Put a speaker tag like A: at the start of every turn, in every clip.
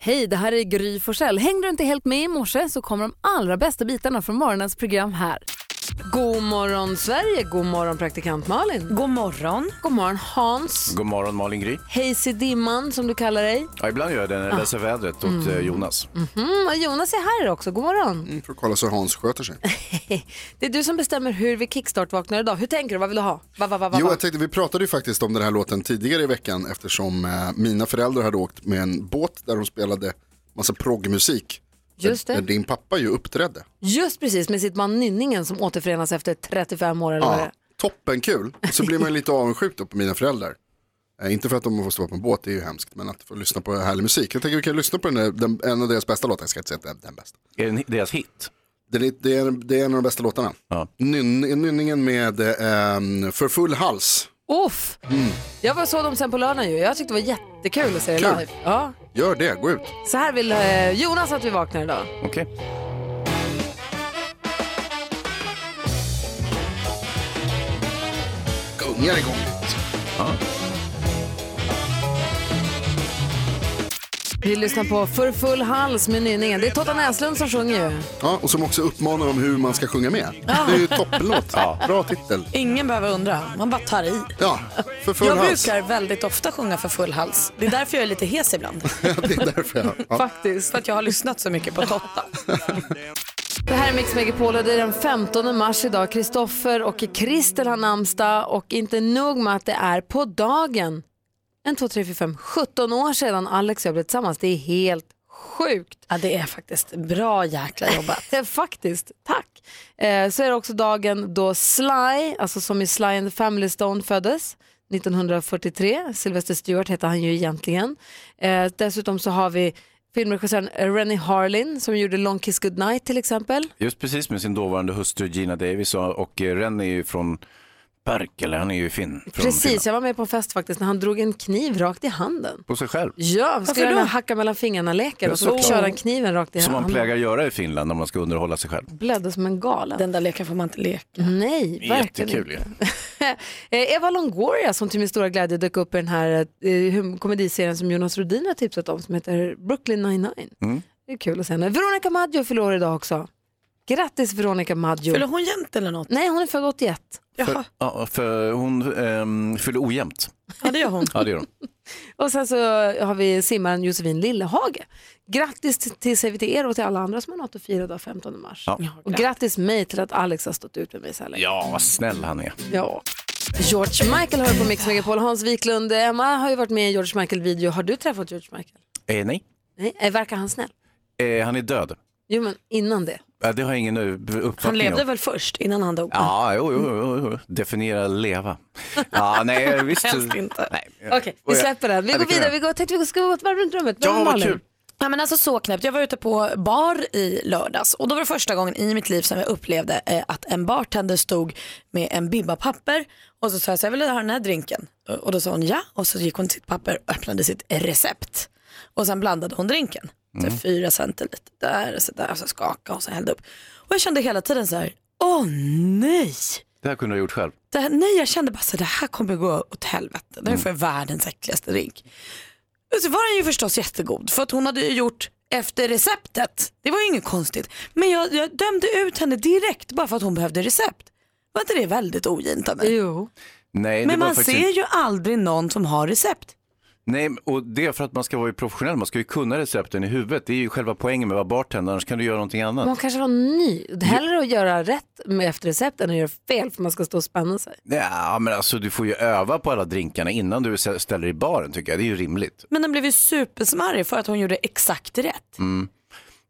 A: Hej, det här är Gry Forssell. Hängde du inte helt med i morse så kommer de allra bästa bitarna från morgonens program här. God morgon Sverige, god morgon praktikant Malin.
B: God morgon.
A: God morgon Hans.
C: God morgon Malin Gry.
A: Hejs i dimman som du kallar dig.
C: Ja, ibland gör jag det när jag läser vädret åt eh, Jonas.
A: Mm, och Jonas är här också, god morgon.
D: För att kolla så Hans sköter sig.
A: Det är du som bestämmer hur vi kickstart-vaknar idag. Hur tänker du? Vad vill du ha? Va, va, va, va,
D: Jo,
A: va?
D: jag tänkte, vi pratade ju faktiskt om den här låten tidigare i veckan eftersom eh, mina föräldrar hade åkt med en båt där de spelade massa proggmusik.
A: Just
D: Där
A: det.
D: din pappa ju uppträdde.
A: Just precis, med sitt man Nynningen som återförenas efter 35 år eller vad det
D: Ja,
A: är.
D: toppenkul. Och Så blir man ju lite avundsjuk då på mina föräldrar. Eh, inte för att de får stå på en båt, det är ju hemskt, men att få lyssna på härlig musik. Jag tänker vi kan lyssna på den, där- den, en av deras bästa låtar, jag ska inte säga att det är den bästa.
C: Är det deras hit?
D: Det är, det är, det är en av de bästa låtarna.
C: Ja.
D: Nyn, nynningen med eh, För full hals. Mm.
A: Uff! Jag var såg dem sen på lördagen ju. Jag tyckte det var jättekul att se det
D: Kul.
A: live. Ja.
D: Gör det, gå ut.
A: Så här vill eh, Jonas att vi vaknar idag.
C: Okej.
D: Gungar igång.
A: Vi lyssnar på För full hals med Nynningen. Det är Totta Näslund som sjunger ju.
D: Ja, och som också uppmanar om hur man ska sjunga med. Det är ju toppenlåt. Bra titel.
B: Ingen behöver undra, man bara tar i.
D: Ja, för full
B: jag
D: hals.
B: brukar väldigt ofta sjunga för full hals. Det är därför jag är lite hes ibland.
D: det är därför jag... Ja.
A: Faktiskt.
B: För att jag har lyssnat så mycket på Totta.
A: Det här är Mix Megapol och det är den 15 mars idag. Kristoffer och Kristel har namnsdag och inte nog med att det är på dagen en, två, tre, fyra, fem, 17 år sedan Alex och jag blev tillsammans. Det är helt sjukt.
B: Ja, det är faktiskt bra jäkla jobbat.
A: Ja, Faktiskt, tack. Eh, så är det också dagen då Sly, alltså som i Sly and the Family Stone föddes. 1943, Sylvester Stewart hette han ju egentligen. Eh, dessutom så har vi filmregissören Rennie Harlin som gjorde Long Kiss Goodnight till exempel.
C: Just precis med sin dåvarande hustru Gina Davis och, och eh, Ren är ju från Perk, eller han är ju finn. Från
A: Precis,
C: Finland.
A: jag var med på en fest faktiskt när han drog en kniv rakt i handen.
C: På sig själv.
A: Ja, vi ska
B: Varför
A: göra den här
B: då?
A: hacka mellan fingrarna-leken och så
C: såklart.
A: kör han kniven rakt i
C: Som man
A: handen.
C: plägar göra i Finland när man ska underhålla sig själv.
A: Blödde som en galen.
B: Den där leken får man inte leka.
A: Nej, verkligen
C: Jättekul ju.
A: Eh, Eva Longoria som till min stora glädje dök upp i den här eh, hum- komediserien som Jonas Rhodin har tipsat om som heter Brooklyn 99.
D: Mm.
A: Det är kul att se henne. Veronica Maggio fyller år idag också. Grattis Veronica Maggio.
B: Fyller hon jämt eller något?
A: Nej, hon är född 81.
B: Jaha,
C: Ja, för hon ehm, fyller ojämnt.
B: ja, det gör hon.
C: Ja, det gör hon.
A: Och sen så har vi simmaren Josefin Lillehage. Grattis t- till sig till er och till alla andra som har något att fira idag 15 mars.
C: Ja.
A: Och grattis mig till att Alex har stått ut med mig så här länge.
C: Ja, vad snäll han är.
A: Ja. George Michael hör på Mix Megapol. Hans Wiklund, Emma har ju varit med i George Michael-video. Har du träffat George Michael?
C: Eh, nej,
A: Nej, eh, verkar han snäll?
C: eh, han är död.
A: Jo, men innan det.
C: Eh, det har jag ingen eh, uppfattning
B: Han
C: om.
B: levde väl först innan han dog?
C: Ja, jo, jo, jo, jo. Definiera leva. Ja, nej, visst.
B: Helst inte.
C: Nej.
A: Okej, vi
C: Och jag-
A: släpper den. Vi
C: Ja,
A: går
C: det kan
A: vidare. Vi går, tänkte vi ska gå ett varv runt rummet.
C: Ja,
A: Börja med
C: vad
A: Malin.
C: kul.
B: Ja, men alltså så knäppt. Jag var ute på bar i lördags och då var det första gången i mitt liv som jag upplevde eh, att en bartender stod med en bibba papper och så sa jag så här, vill du ha den här drinken? Och då sa hon ja och så gick hon till sitt papper och öppnade sitt recept och sen blandade hon drinken. Så
C: Mm.
B: Fyra centiliter där och så där och så skakade och så hällde upp. Och jag kände hela tiden så här, åh nej.
C: Det här kunde du ha gjort själv.
B: Det här, nej, jag kände bara så här, det här kommer gå åt helvete. Det här får jag världens äckligaste drink. Och så var den ju förstås jättegod för att hon hade ju gjort efter receptet. Det var ju inget konstigt. Men jag, jag dömde ut henne direkt bara för att hon behövde recept. Var inte det väldigt ogint av mig?
A: Jo.
C: Nej,
B: Men
C: det var
B: man
C: faktiskt...
B: ser ju aldrig någon som har recept.
C: Nej, och det är för att man ska vara ju professionell. Man ska ju kunna recepten i huvudet. Det är ju själva poängen med att vara bartender. Annars kan du göra någonting annat.
A: Men hon kanske var ny. Det är Hellre att göra rätt med efter recept än att göra fel för man ska stå och spänna sig.
C: Ja, men alltså du får ju öva på alla drinkarna innan du s- ställer i baren tycker jag. Det är ju rimligt.
B: Men den blev ju supersmarrig för att hon gjorde exakt rätt.
C: Mm.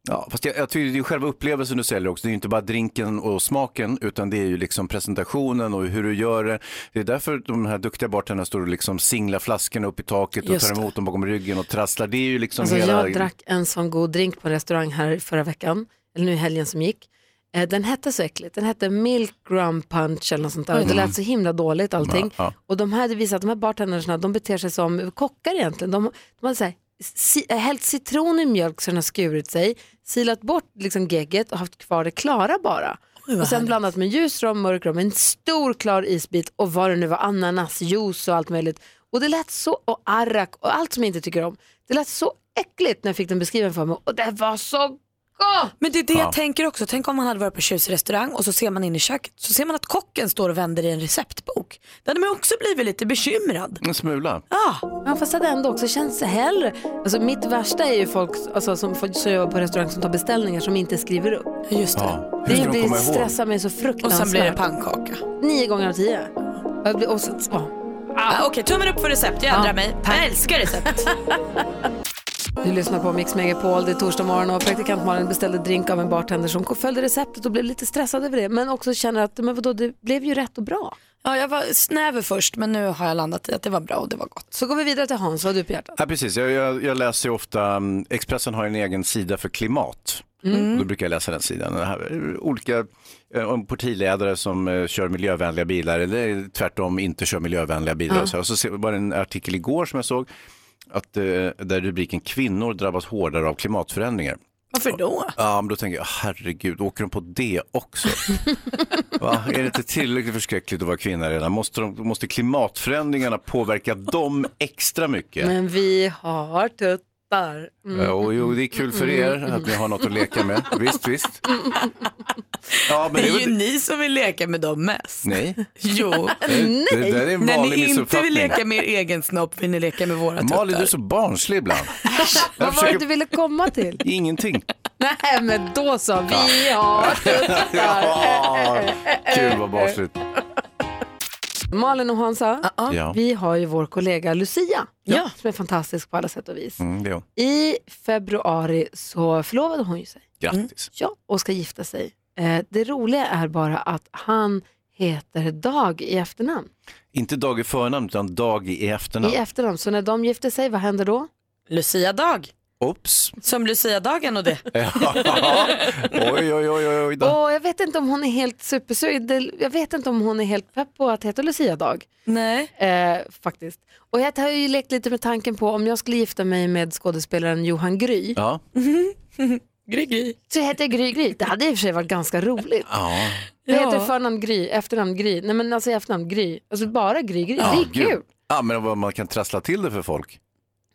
C: Ja, fast jag, jag tycker det är ju själva upplevelsen du säljer också. Det är ju inte bara drinken och smaken utan det är ju liksom presentationen och hur du gör det. Det är därför de här duktiga bartenderna står och liksom singlar flaskorna upp i taket och
B: Just
C: tar
B: det.
C: emot dem bakom ryggen och trasslar. Det är ju liksom
A: Alltså,
C: hela...
A: jag drack en sån god drink på en restaurang här i förra veckan, eller nu i helgen som gick. Eh, Den hette så äckligt, den hette Milk Rum Punch eller något sånt där. Det lät så himla dåligt allting.
C: Mm. Ja, ja.
A: Och de hade visat, de här bartendersna, de beter sig som kockar egentligen. De, de hade så här, si, eh, hällt citron i mjölk så den har skurit sig, silat bort liksom gegget och haft kvar det klara bara.
B: vad
A: och sen
B: härligt.
A: blandat med ljus rom, mörk rom, en stor klar isbit och vad det nu var, ananas, juice och allt möjligt. Och det lät så, och arrak och allt som jag inte tycker om. Det lät så äckligt när jag fick den beskriven för mig och det var så gott!
B: Men det är det
C: Ja.
B: jag tänker också. Tänk om man hade varit på Tjus restaurang och så ser man in i köket så ser man att kocken står och vänder i en receptbok. Då hade man också blivit lite bekymrad.
C: En smula.
B: Ja,
A: Ah, Ja, fast det ändå också känns hellre. Alltså, mitt värsta är ju folk alltså, som får som jobbar på restaurang som tar beställningar som inte skriver upp.
B: just det.
C: Ja. Hur
A: Det,
C: ska de
A: det
C: komma ihåg?
A: stressar mig så
B: Och
A: fruktansvärt.
B: sen blir det pannkaka.
A: Nio gånger av tio. Jag blir- Och så, ja.
B: Ah, Okej, tummen upp för recept. Jag ändrar mig. Jag älskar recept.
A: Du lyssnar på Mix Megapol, det är torsdag morgon och praktikant Malin beställde drink av en bartender som följde receptet och blev lite stressad över det. Men också känner att men vadå, det blev ju rätt och bra.
B: Ja, jag var snäver först men nu har jag landat i att det var bra och det var gott.
A: Så går vi vidare till Hans, vad har du på hjärtat?
C: Ja, precis. Jag, jag, jag läser ju ofta, mm, Expressen har en egen sida för klimat. Då brukar jag läsa den sidan. Det här, olika eh, om partiledare som eh, kör miljövänliga bilar eller tvärtom inte kör miljövänliga bilar. Och så, här. och så se- var det en artikel igår som jag såg att, eh, där rubriken kvinnor drabbas hårdare av klimatförändringar.
B: Varför då?
C: Ja, men då tänker jag, "Ah, herregud, åker de på det också? Va? Är det inte tillräckligt förskräckligt att vara kvinna redan? Måste, de, måste klimatförändringarna påverka dem extra mycket?
A: Men vi har tuttar. Mm.
C: Ja, Eh, och jo, det är kul för er att ni har något att leka med. Visst, visst. Ja, men
B: Det
C: det är
B: är ju
C: väl...
B: ni som vill leka med dem mest.
C: Nej,
B: Jo.
C: det, det där är en
B: När
C: vanlig
B: ni inte vill
C: missuppfattning.
B: leka med er egen snopp vill ni leka med våra tuttar.
C: Malin, du är så barnslig ibland. Jag
A: Vad var det
C: försöker...
A: du ville komma till?
C: Ingenting.
A: Nej, men då så, vi har
C: Ja, kul vad barnsligt.
A: Malin och Hansa,
C: Ja,
A: vi har ju vår kollega Lucia
B: Ja.
A: som är fantastisk på alla sätt och vis.
C: mm, det är hon.
A: I februari så förlovade hon ju sig
C: Grattis.
A: ja, och ska gifta sig. Eh, det roliga är bara att han heter Dag i efternamn.
C: Inte dag i förnamn, utan dag i
A: I
C: efternamn.
A: efternamn. Så när de gifte sig, vad hände då?
B: Lucia-dag.
C: Ops.
B: Som Lucia-dagen och det.
C: Ja. Oj, oj, oj, oj, oj då.
A: Åh, jag vet inte om hon är helt supersugen. Det- Jag vet inte om hon är helt pepp på att heta Lucia Dag.
B: Nej.
A: Eh, faktiskt. Och jag har ju lekt lite med tanken på om jag skulle gifta mig med skådespelaren Johan Gry.
C: Ja.
B: Gry, gry.
A: Så heter jag Gry Gry. Det hade i och för sig varit ganska roligt.
C: ja.
A: Jag
B: Ja.
A: heter förnamn Gry, efternamn Gry. Nej men alltså efternamn Gry. Alltså bara Gry Gry. det är
C: gud.
A: kul.
C: Ja, men vad man kan trassla till det för folk.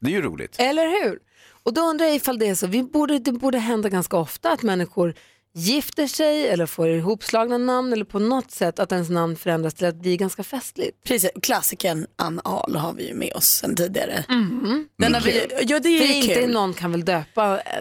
C: Det är ju roligt.
A: Eller hur? Och då undrar jag ifall det är så, vi borde, det borde hända ganska ofta att människor gifter sig eller får ihopslagna namn eller på något sätt att ens namn förändras till att bli ganska festligt.
B: Precis, klassikern Ann Ahl har vi ju med oss sen tidigare. Den
C: Mm.
B: har vi, ja, det
A: Mm. För
B: är ju
A: inte
B: kul.
A: någon kan väl döpa, eh,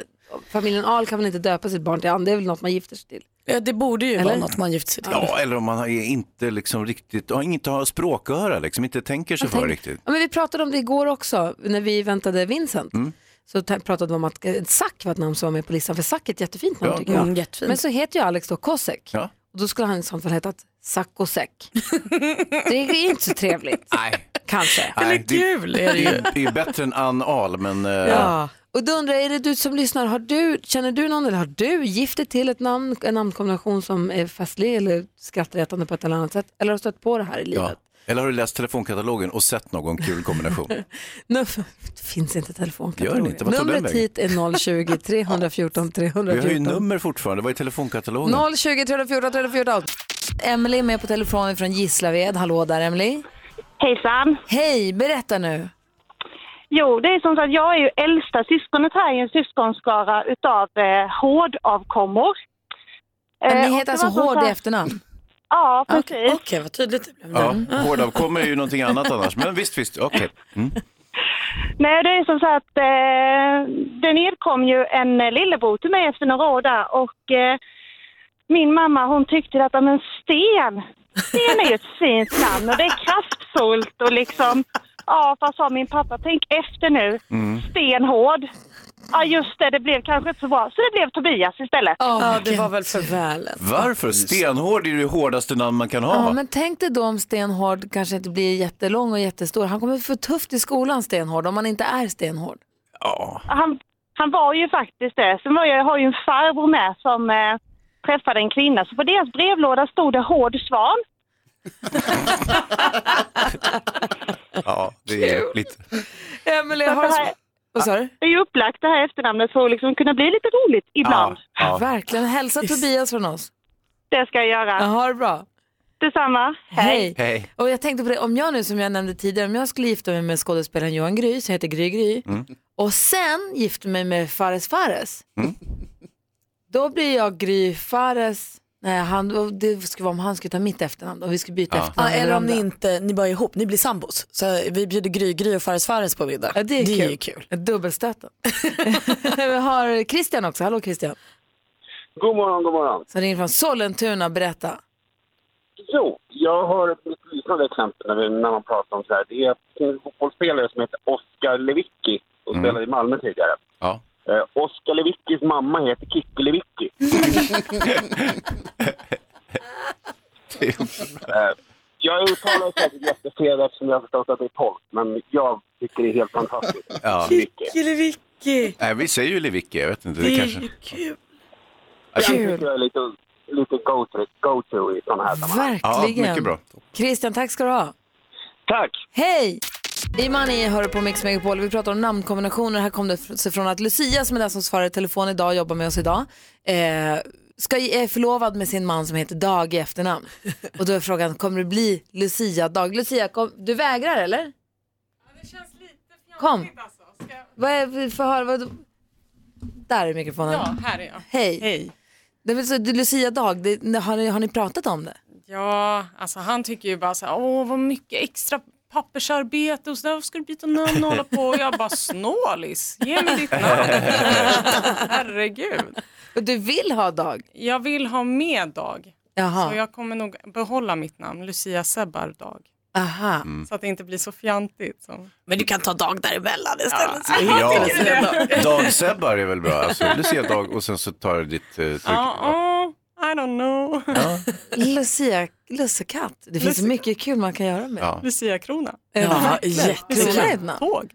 A: familjen Ahl kan väl inte döpa sitt barn till Ann, det är väl något man gifter sig till.
B: Ja, det borde ju vara
A: Eller?
B: något man gift sig till.
C: Ja, eller om man är inte liksom riktigt, har inte har språköra liksom, inte tänker sig för
A: Tänk-
C: riktigt.
A: Ja, men vi pratade om det igår också när vi väntade Vincent.
C: Mm.
A: Så ta- pratade vi om att eh, Zack var ett namn som var med på listan, för Zack är ett jättefint namn
C: Ja.
A: tycker jag.
B: Mm, jättefint.
A: Men så heter ju Alex då Kosek.
C: Ja.
A: Och då skulle han i sånt fall hetat Sackosek. det är ju inte så trevligt,
C: Nej.
A: kanske.
C: Nej, det,
B: kul är det
C: det,
B: ju.
C: är, det är bättre än Ann Ahl, men eh,
A: Ja. Och då undrar jag, är det du som lyssnar, har du, känner du någon eller har du gift dig till ett namn, en namnkombination som är festlig eller skrattretande på ett eller annat sätt? Eller har du stött på det här i
C: ja.
A: livet?
C: Eller har du läst telefonkatalogen och sett någon kul kombination?
A: Nu, det finns inte telefonkatalogen.
C: Gör den inte? Vad tog den
A: Numret
C: vägen?
A: hit är 020-314 314.
C: Vi har ju nummer fortfarande, vad är telefonkatalogen?
A: 020 314 314. Emily är med på telefon från Gislaved. Hallå där Emily.
E: Hejsan!
A: Hej, berätta nu.
E: Jo, det är som sagt, jag är ju äldsta syskonet här i en syskonskara utav eh, hårdavkommor.
A: Men
E: Eh,
A: ni
E: och
A: heter
E: det
A: alltså
E: var som
A: Hård i
E: sagt-
A: efternamn?
E: Ja, precis.
B: Okej, vad tydligt det Mm. blev.
C: Ja, hårdavkomma är ju någonting annat annars, men visst, visst, okej. Mm.
E: Nej, det är som sagt, eh, det nedkom ju en eh, lillebror till mig efter några år där och eh, min mamma hon tyckte att, "Ja, men Sten, Sten är ju ett fint namn och det är kraftfullt och liksom, ja fast sa min pappa, tänk efter nu, stenhård. Ja just det, det blev kanske inte så bra, så det blev Tobias istället.
B: Ja, det var väl för välen.
C: Varför? Stenhård är ju det hårdaste namn man kan ha.
A: Ja,
C: va?
A: men tänk dig då om Stenhård kanske inte blir jättelång och jättestor. Han kommer få tufft i skolan Stenhård om han inte är Stenhård.
C: Ja.
E: han, han var ju faktiskt det. Sen var jag, jag har ju en farbror med som eh, träffade en kvinna. Så på deras brevlåda stod det Hård Svan.
C: ja, det är lite...
A: Emelie,
E: Så att det, här,
A: Vad sa du?
E: det är ju upplagt det här efternamnet för att liksom kunna bli lite roligt ibland.
C: Ja, ja.
A: Verkligen. Hälsa Tobias från oss.
E: Det ska jag göra.
A: Ja, ha det bra.
E: Detsamma.
A: Hej.
C: Hej.
A: Och jag tänkte på det, om jag nu som jag nämnde tidigare, om jag skulle gifta mig med skådespelaren Johan Gry, som heter Gry Gry, och sen gifta mig med Fares Fares, då blir jag Gry Fares, nej han, och det skulle vara om han skulle ta mitt efternamn, om vi skulle byta
C: Ja.
B: Ja,
A: efternamn. med
B: eller om ni
A: varandra.
B: inte, ni bara är ihop, ni blir sambos. Så vi bjuder Gry, Gry och Fares Fares på middag.
A: Ja, det är,
B: ju
A: kul. Dubbelstöten. vi har Christian också, hallå Christian,
F: God morgon, god morgon.
A: som ringer från Sollentuna, berätta.
F: Jo, jag har ett liknande exempel när, vi, när man pratar om så här. Det är en fotbollsspelare som heter Oskar Lewicki och spelade i Malmö tidigare.
C: Mm. Ja.
F: Eh, Oskar Lewickis mamma heter Kikki Lewicki. eh, jag uttalar säkert jättefel eftersom jag har förstått att det är tolk, men jag tycker det är helt fantastiskt.
C: Ja.
F: Lewicki.
B: Killevicky.
C: Nej, vi säger ju Levicki, jag vet inte. Det kanske...
B: kul.
F: Jag tycker jag är lite, lite go-to go to i sådana här sammanhang.
C: Ja,
A: Verkligen.
C: mycket bra.
A: Christian, tack ska du ha.
F: Tack!
A: Hej! Imani hör på Mix Megapol. Vi pratar om namnkombinationer. Här kom det f- sig från att Lucia, som är den som svarar i telefon idag och jobbar med oss idag, eh, ska, är förlovad med sin man som heter Dag i efternamn. Och då är frågan, kommer det bli Lucia-dag? Lucia, kom, du vägrar eller? Kom. Vad är vi får höra? Vad, där är mikrofonen.
G: Ja, här är jag.
A: Hej.
G: Hej.
A: Det vill säga, det är Lucia-dag, det- det- har, ni- har ni pratat om det?
G: Ja, alltså han tycker ju bara så här, åh vad mycket extra pappersarbete och sådär, varför ska du byta namn och hålla på? Och jag bara, snålis, ge mig ditt namn. Herregud.
A: Och du vill ha Dag?
G: Jag vill ha med Dag,
A: Jaha.
G: så jag kommer nog behålla mitt namn, Lucia Sebbar Dag.
A: Aha.
G: Så att det inte blir så fjantigt. Som...
B: Men du kan ta dag däremellan istället.
C: Ja. Dag-Sebbar är väl bra? Alltså, Lucia-dag och sen så tar du ditt eh, tryck.
G: Ja, åh, I don't know.
A: Lucia, lussekatt. Det finns så mycket kul man kan göra med
C: Ja.
G: Lucia Krona.
B: Ja,
A: Krona är
B: jättekul.
A: ett namn.
G: Tåg.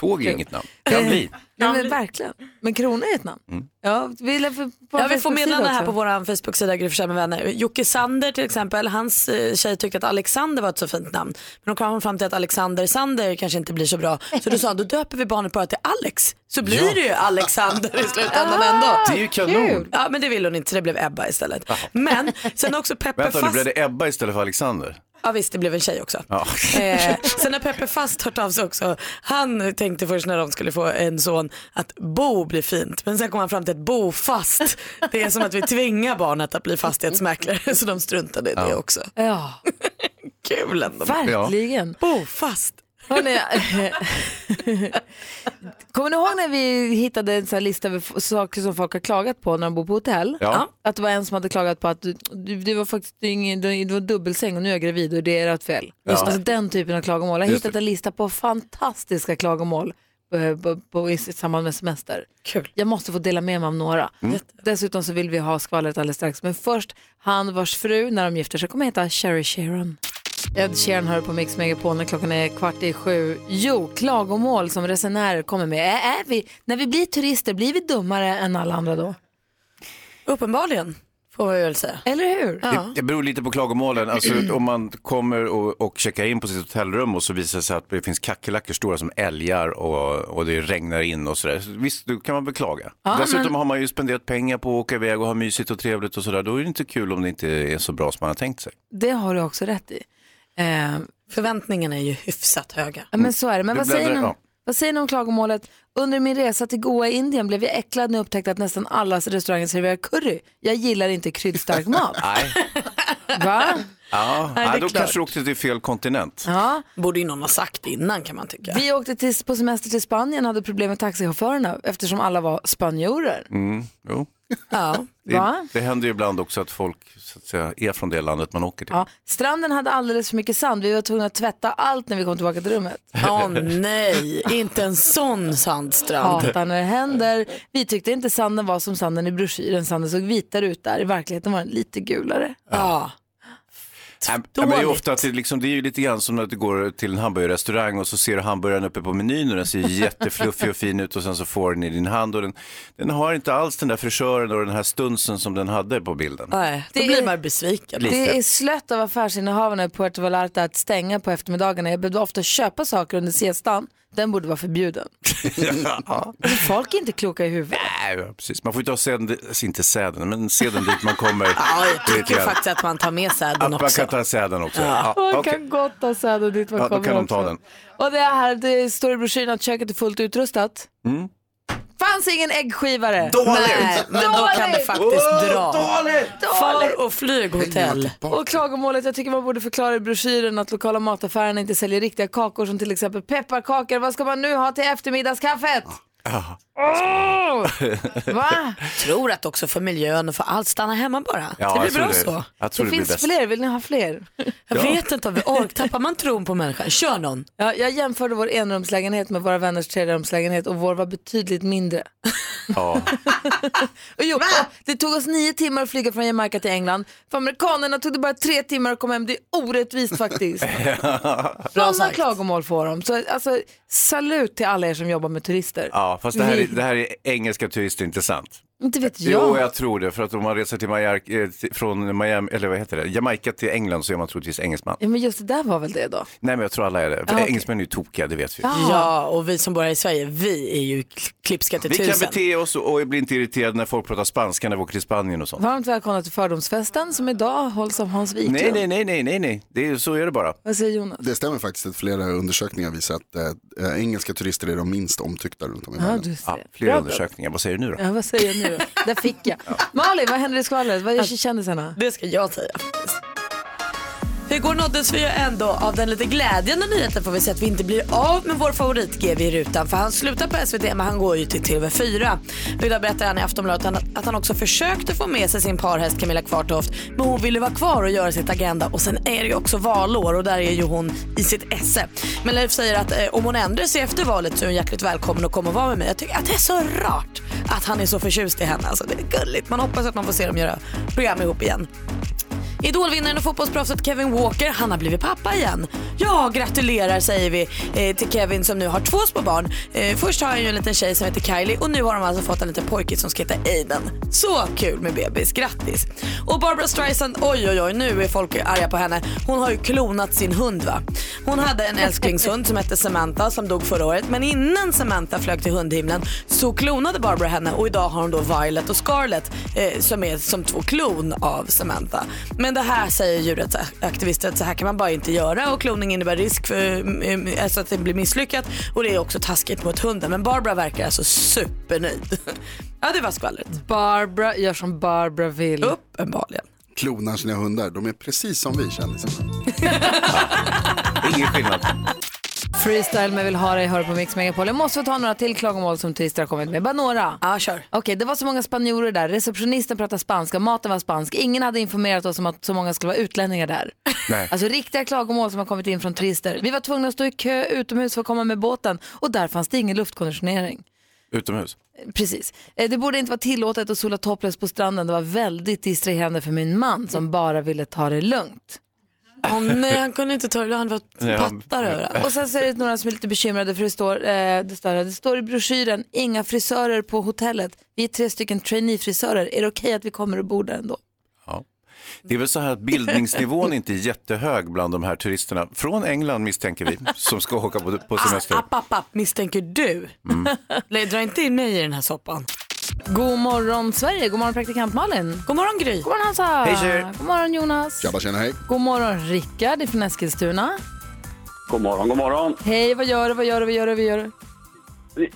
C: Tåg är inget namn. Kan bli.
A: Ja, men verkligen. Men krona är ett namn. Ja, vi, lär få- på
B: Ja, vi får
A: Facebook-sida
B: meddelanden här
A: också.
B: på vår Facebook-sida Gry Forssell med vänner. Jocke Sander till exempel, hans eh, tjej tyckte att Alexander var ett så fint namn. Men de kom fram till att Alexander Sander kanske inte blir så bra. Så då sa han, då döper vi barnet bara till Alex. Så blir
C: Ja.
B: det ju Alexander i slutändan
E: Ah,
B: ändå.
C: Det är ju kanon.
B: Ja men det ville hon inte så det blev Ebba istället. Men sen har också Peppe
C: Vänta, nu
B: Fast.
C: blev det Ebba istället för Alexander.
B: Ja visst det blev en tjej också.
C: Ja.
B: Eh, sen har Peppe Fast hört av sig också. Han tänkte först när de skulle få en son att Bo blir fint. Men sen kom han fram till att Bo Fast, det är som att vi tvingar barnet att bli fastighetsmäklare. Så de struntade i det också.
A: Ja,
B: Kul ändå.
A: verkligen.
B: Bo Fast.
A: Hörrni, kommer ni ihåg när vi hittade en sån här lista över f- saker som folk har klagat på när de bor på hotell?
C: Ja.
A: Att det var en som hade klagat på att du, du, du var faktiskt ingen, du, du var dubbelsäng och nu är jag gravid och det är ert fel. Alltså den typen av klagomål. Jag har
C: Just
A: hittat
C: det.
A: en lista på fantastiska klagomål eh, på, på, i samband med semester.
B: Kul. Mm.
A: Jag måste få dela med mig av några. Dessutom så vill vi ha skvallret alldeles strax. Men först, han vars fru när de gifter sig kommer heta Sherry Sharon. Ed Sheeran hör på Mix Megapol när klockan är kvart i sju. Jo, klagomål som resenärer kommer med. Är, är vi, när vi blir turister, blir vi dummare än alla andra då?
B: Uppenbarligen får vi väl säga.
A: Eller hur?
C: Det, det beror lite på klagomålen. Alltså, om man kommer och, och checkar in på sitt hotellrum och så visar det sig att det finns kackerlackor stora som älgar och, och det regnar in och sådär. Så Visst, då kan man beklaga. Dessutom har man ju spenderat pengar på att åka iväg och ha mysigt och trevligt och sådär. Då är det inte kul om det inte är så bra som man har tänkt sig.
A: Det har du också rätt i. Eh,
B: Förväntningarna är ju hyfsat höga.
A: Ja, men så är det. Men
C: Det
A: vad säger, ni
C: bläddrar-
A: om, vad säger ni om klagomålet? Under min resa till Goa i Indien blev jag äcklad när jag upptäckte att nästan alla restauranger serverar curry. Jag gillar inte kryddstark mat.
C: Nej,
A: Va?
C: ja.
B: det är
C: Nej då
B: klart.
C: kanske du åkte till fel kontinent.
A: Ja.
B: Borde ju någon ha sagt innan kan man tycka.
A: Vi åkte till, på semester till Spanien och hade problem med taxichaufförerna eftersom alla var spanjorer.
C: Mm, Jo.
B: Ja.
A: Va?
C: Det, det händer ju ibland också att folk så att säga, är från det landet man åker till.
A: Ja. Stranden hade alldeles för mycket sand. Vi var tvungna att tvätta allt när vi kom tillbaka till rummet.
B: Åh nej, inte en sån sandstrand.
A: Hatar när det händer. Vi tyckte inte sanden var som sanden i broschyren. Sanden såg vitare ut där. I verkligheten var den lite gulare.
B: Ja.
C: Nej, men det är ju
B: Dåligt.
C: ofta att det, liksom, det är ju lite grann som när du går till en hamburgerrestaurang och så ser du hamburgaren uppe på menyn och den ser jättefluffig och fin ut och sen så får den i din hand och den, den har inte alls den där frisören och den här stunsen som den hade på bilden.
B: Nej, då
A: Det är-
B: blir man besviken.
C: Lite.
A: Det är slött av affärsinnehavarna i Puerto Vallarta att stänga på eftermiddagarna. Jag behövde ofta köpa saker under siestan Den borde vara förbjuden.
C: ja.
A: Folk är inte kloka i huvudet.
C: Nej, precis. Man får inte ha seden, inte säden, men seden dit man kommer.
B: Ja, jag
C: Lite
B: tycker
C: grann.
B: faktiskt att man tar med säden
C: Att man
B: också.
C: kan ta säden också.
A: Man
C: Ja, okej.
A: kan gott ta säden dit man
C: Ja, då
A: kommer
C: kan de
A: också.
C: ta den.
A: Och det här, det står i broschyren att köket är fullt utrustat. Fanns ingen äggskivare.
B: Mm. Nej, men då kan det faktiskt dra. Far och flyghotell.
A: Och klagomålet, jag tycker man borde förklara i broschyren att lokala mataffärerna inte säljer riktiga kakor som till exempel pepparkakor. Vad ska man nu ha till eftermiddagskaffet? Oh! Va?
B: Tror att också för miljön och för allt, stanna hemma bara.
C: Ja,
B: det
C: jag
B: blir
C: tror
B: bra så.
C: Jag tror
A: Det
C: det, blir
A: finns
C: bäst.
A: fler, vill ni ha fler?
B: Jag vet inte om vi orkar, tappar man tron på människan? Kör någon.
A: Ja, jag jämförde vår enrumslägenhet med våra vänners trerumslägenhet och vår var betydligt mindre.
C: Ja.
A: Och jo, och det tog oss nio timmar att flyga från Jamaica till England. För amerikanerna tog det bara tre timmar att komma hem. Det är orättvist faktiskt. Sådana
B: sagt.
A: klagomål får de. Så, alltså, salut till alla er som jobbar med turister.
C: ja, fast det här, är,
A: Ni-
C: det här är engelska turister, inte sant?
A: Inte vet jag.
C: Jo, jag tror det. För att om man reser till Majar- eh, till- från Miami, eller vad heter det? Jamaica till England så är man troligtvis engelsman.
A: Ja, men just det där var väl det då. Ah,
C: Nej, men jag tror alla är det. För
A: okej. Ah.
C: Engelsmän är ju tokiga, det vet vi.
B: Ja, och vi som bor här i Sverige, vi är ju klipska till
C: Vi kan
B: tusen.
C: bete oss och och bli inte irriterade när folk pratar spanska när vi åker till Spanien och sånt.
A: Varmt välkomna till fördomsfesten som idag hålls av Hans Wiklund.
C: Nej, nej, nej, nej, nej, nej. Det är, så är det bara.
A: Vad säger Jonas?
D: Det stämmer faktiskt att flera undersökningar visar att eh, engelska turister är de minst omtyckta runt om i
A: Ja,
D: världen.
A: du ser.
C: Ja, flera
A: Bra, bra.
C: undersökningar. Vad säger du nu då?
A: Ja, vad säger jag nu då? Där fick jag. Malin, vad händer i skvallret? Vad gör
C: Alltså,
A: kändisarna?
B: Det ska jag säga. Igår nåddes vi ju ändå av den lite glädjande nyheten får vi säga att vi inte blir av med vår favorit GV i rutan för han slutar på SVT men han går ju till TV4. Och Idag berättar han i Aftonbladet att han- att han också försökte få med sig sin parhäst Camilla Kvartoft men hon ville vara kvar och göra sitt agenda och sen är det ju också valår och där är ju hon i sitt esse. Men Leif säger att eh, om hon ändrar sig efter valet så är hon hjärtligt välkommen att komma och vara med mig. Jag tycker att det är så rart att han är så förtjust i henne. Alltså, det är gulligt. Man hoppas att man får se dem göra program ihop igen. Idolvinnaren och fotbollsproffset Kevin Walker, han har blivit pappa igen. Ja, gratulerar säger vi eh, till Kevin som nu har två små barn. Eh, först har han ju en liten tjej som heter Kylie och nu har de alltså fått en liten pojke som ska heta Aiden. Så kul med bebis, grattis. Och Barbara Streisand, oj oj oj, nu är folk arga på henne. Hon har ju klonat sin hund va. Hon hade en älsklingshund som hette Samantha som dog förra året men innan Samantha flög till hundhimlen så klonade Barbara henne och idag har hon då Violet och Scarlett eh, som är som två klon av Samantha. Men det här säger djurrättsaktivister att så här kan man bara inte göra och kloning innebär risk för eh, alltså att det blir misslyckat och det är också taskigt mot hunden. Men Barbara verkar alltså supernöjd. ja det var skvallret.
A: Barbara gör som Barbara vill.
B: Uppenbarligen.
D: Klonar sina hundar, de är precis som vi kändisarna.
C: Ingen skillnad.
A: Freestyle med Vill ha dig hör på Mix Megapol. Jag måste få ta några till klagomål som turister har kommit med. Bara några.
B: Ja kör.
A: Okej, det var så många spanjorer där. Receptionisten pratade spanska, maten var spansk. Ingen hade informerat oss om att så många skulle vara utlänningar där.
C: Nej.
A: Alltså riktiga klagomål som har kommit in från turister. Vi var tvungna att stå i kö utomhus för att komma med båten och där fanns det ingen luftkonditionering.
C: Utomhus.
A: Precis. Eh, Det borde inte vara tillåtet att sola topless på stranden. Det var väldigt distraherande för min man som bara ville ta det lågt.
B: Åh nej han kunde inte ta det, han var
C: Ja.
B: pattar överallt.
A: Och sen så är det några som är lite bekymrade för det står, eh, det står, här, det står i broschyren, inga frisörer på hotellet. Vi är tre stycken trainee-frisörer. Är det okej att vi kommer och bor där ändå?
C: Det är väl så här att bildningsnivån inte är jättehög bland de här turisterna. Från England misstänker vi, som ska åka på, på semester.
A: Ah,
B: App, app, app, misstänker du? Mm. Dra inte in mig i den här soppan.
A: God morgon Sverige, god morgon praktikant Malin.
B: God morgon Gry.
A: God morgon Hansa.
C: Hej, tjejer.
A: god morgon Jonas.
D: Tjabba tjena hej.
A: God morgon Rickard från Eskilstuna.
F: God morgon, god morgon.
A: Hej, vad gör du, vad gör du, vad gör du, vad gör du?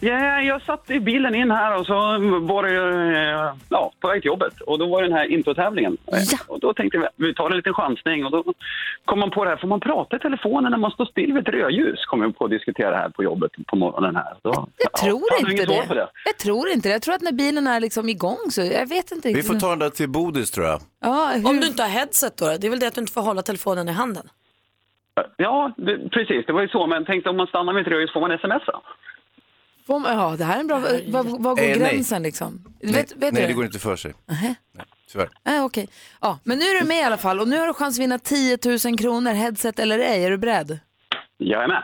F: Ja, jag satt i bilen in här och så var det eh, ja, på väg till jobbet och då var det den här introtävlingen.
A: Ja.
F: Och då tänkte vi vi tar en liten chansning och då kom man på det här, får man prata i telefonen när man står still vid ett rödljus? Kom vi på att diskutera det här på jobbet på morgonen här. Så,
A: Jag tror
F: ja,
A: inte
F: inget
A: det.
F: svar på det.
A: Jag tror inte det. Jag tror att när bilen är liksom igång så, jag vet inte
C: Vi
A: riktigt.
C: får ta den där till Bodis tror jag.
A: ja, hur...
B: Om du inte har headset då, det är väl det att du inte får hålla telefonen i handen?
F: Ja, det, precis. Det var ju så. Men tänkte om man stannar vid ett rödljus, får man smsa?
A: Får man- Ja, det här är en bra... Var, var går
C: Eh, nej.
A: gränsen liksom? vet, vet
C: Nej,
A: du
C: det går inte för sig. Nej, tyvärr.
A: Äh, okej. Ja, men nu är du med i alla fall och nu har du chans att vinna 10 000 kronor, headset eller ej. Är du beredd?
F: Jag är med.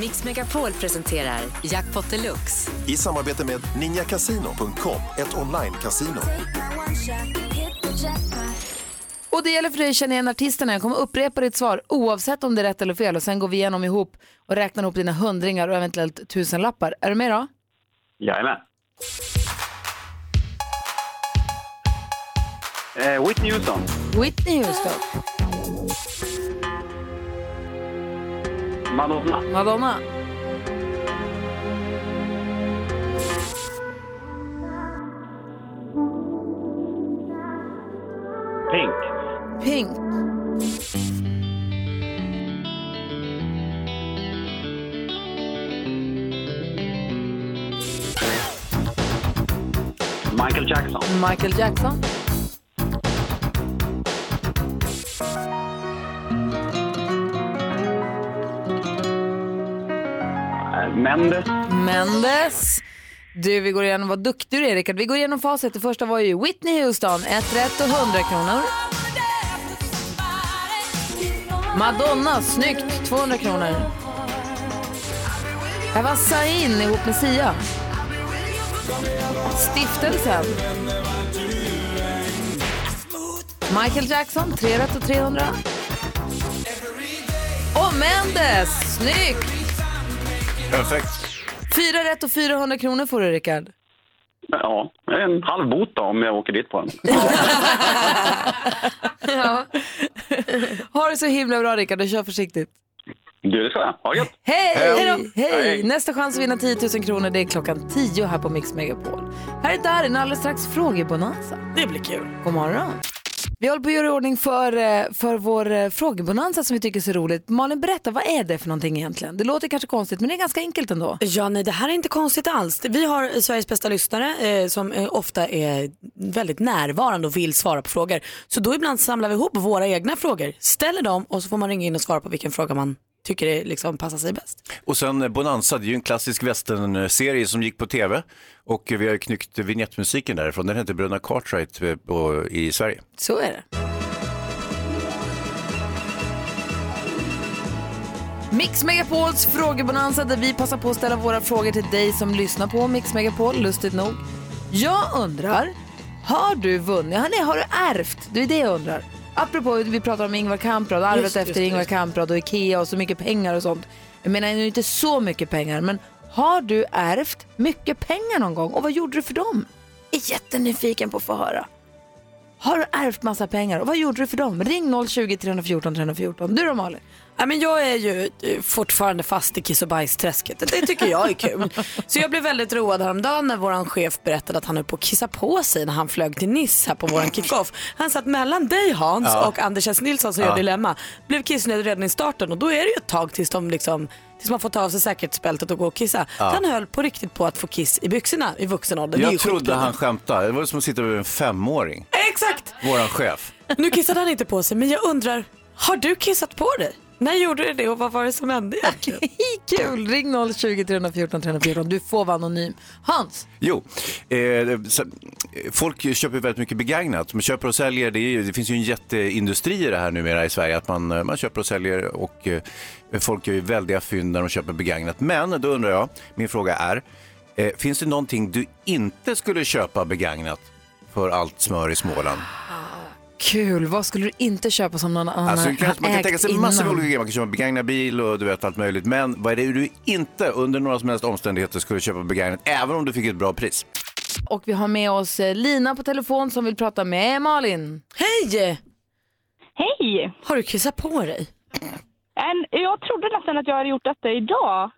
H: Mix Megapol presenterar Jackpot Deluxe.
I: I samarbete med ninjacasino.com, ett online-casino.
A: Och Och det gäller för dig att känna igen artisterna. Jag kommer upprepa ditt svar oavsett om det är rätt eller fel och sen går vi igenom ihop och räknar ihop dina hundringar och eventuellt tusenlappar. Är du med då?
F: Jajamän. Eh, Whitney Houston.
A: Whitney Houston,
F: Madonna.
A: Madonna,
F: Pink.
A: Pink,
F: Michael Jackson.
A: Michael Jackson,
F: Eh, Mendes.
A: Mendes. Du, vi går igenom, vad duktig du är Rickard. Vi går igenom facit. Det första var ju Whitney Houston, ett rätt och 100 kronor. Madonna, snyggt, 200 kronor. Här var Sain ihop med Sia. Stiftelsen. Michael Jackson, 3 rätt och 300. Och Mendes, snyggt!
C: Perfekt.
A: Fyra rätt och 400 kronor får du, Rickard.
F: Ja, en halv bot då, om jag åker dit på den.
A: Ja. ha det så himla bra, Rickard, och kör försiktigt.
F: Du, det ska jag. Ha det gött.
A: Hej!
C: Hej
A: Hej! Nästa chans att vinna 10 000 kronor det är klockan 10 här på Mix Megapol. Här är Darin, alldeles strax frågebonanza.
B: Det blir kul.
A: God morgon! Vi håller på att göra i ordning för, eh, för vår eh, frågebonanza som vi tycker är så roligt. Malin, berätta, vad är det för någonting egentligen? Det låter kanske konstigt, men det är ganska enkelt ändå.
B: Ja, nej det här är inte konstigt alls. Vi har eh, Sveriges bästa lyssnare eh, som eh, ofta är väldigt närvarande och vill svara på frågor. Så då ibland samlar vi ihop våra egna frågor, ställer dem och så får man ringa in och svara på vilken fråga man tycker är, liksom, passar sig bäst.
C: Och sen eh, Bonanza, det är ju en klassisk westernserie som gick på tv. Och eh, vi har ju knyckt vignettmusiken därifrån. Den heter Bröderna Cartwright eh, på, i Sverige.
A: Så är det. Mix Megapols frågebonanza där vi passar på att ställa våra frågor till dig som lyssnar på Mix Megapol, lustigt nog. Jag undrar, har du vunnit, har, nej, har du ärvt? Det är det jag undrar. Apropå vi pratar om Ingvar Kamprad, arvet
B: Just,
A: efter
B: just,
A: Ingvar
B: just.
A: Kamprad och Ikea och så mycket pengar och sånt. Jag menar nu inte så mycket pengar, men har du ärvt mycket pengar någon gång och vad gjorde du för dem? Är jättenyfiken på att få höra. Har du ärvt massa pengar och vad gjorde du för dem? Ring 020 314 314. Du då Malin?
B: Ja, men jag är ju eh, fortfarande fast i kiss och bajsträsket. Det tycker jag är kul. Så jag blev väldigt road häromdagen när vår chef berättade att han höll på att kissa på sig när han flög till Nice här på vår kickoff. Han satt mellan dig Hans och Anders S Nilsson som gör Dilemma. Blev kissnödig redan i starten och då är det ju ett tag tills, de liksom, tills man får ta av sig säkerhetsbältet och gå och kissa. Så Han höll på riktigt på att få kiss i byxorna i vuxen ålder. Det är ju
C: Jag trodde
B: skitkul.
C: han skämtade. Det var som att sitta med en femåring,
B: Exakt!
C: våran chef.
B: Nu kissade han inte på sig men jag undrar, har du kissat på dig? När gjorde du det och vad var det som hände egentligen?
A: Kul! Ring 020 314 314. Du får vara anonym. Hans,
C: Jo, eh, så- eh, folk köper ju väldigt mycket begagnat. Man köper och säljer, det, är ju, det finns ju en jätteindustri i det här numera i Sverige. Att man, eh, man köper och säljer och eh, folk gör ju väldiga fynd när de köper begagnat. Men då undrar jag, min fråga är, eh, finns det någonting du inte skulle köpa begagnat för allt smör i Småland?
A: kul. Vad skulle du inte köpa som någon annan
C: Alltså,
A: har
C: kanske, man kan
A: ägt
C: tänka sig
A: innan?
C: massor av olika grejer. Man kan köpa begagnad bil och du vet allt möjligt. Men vad är det du inte under några som helst omständigheter skulle köpa begagnat, även om du fick ett bra pris?
A: Och vi har med oss eh, Lina på telefon som vill prata med Malin.
B: Hej!
E: Hej!
B: Har du kissat på dig?
E: En- Jag trodde nästan att jag hade gjort detta idag.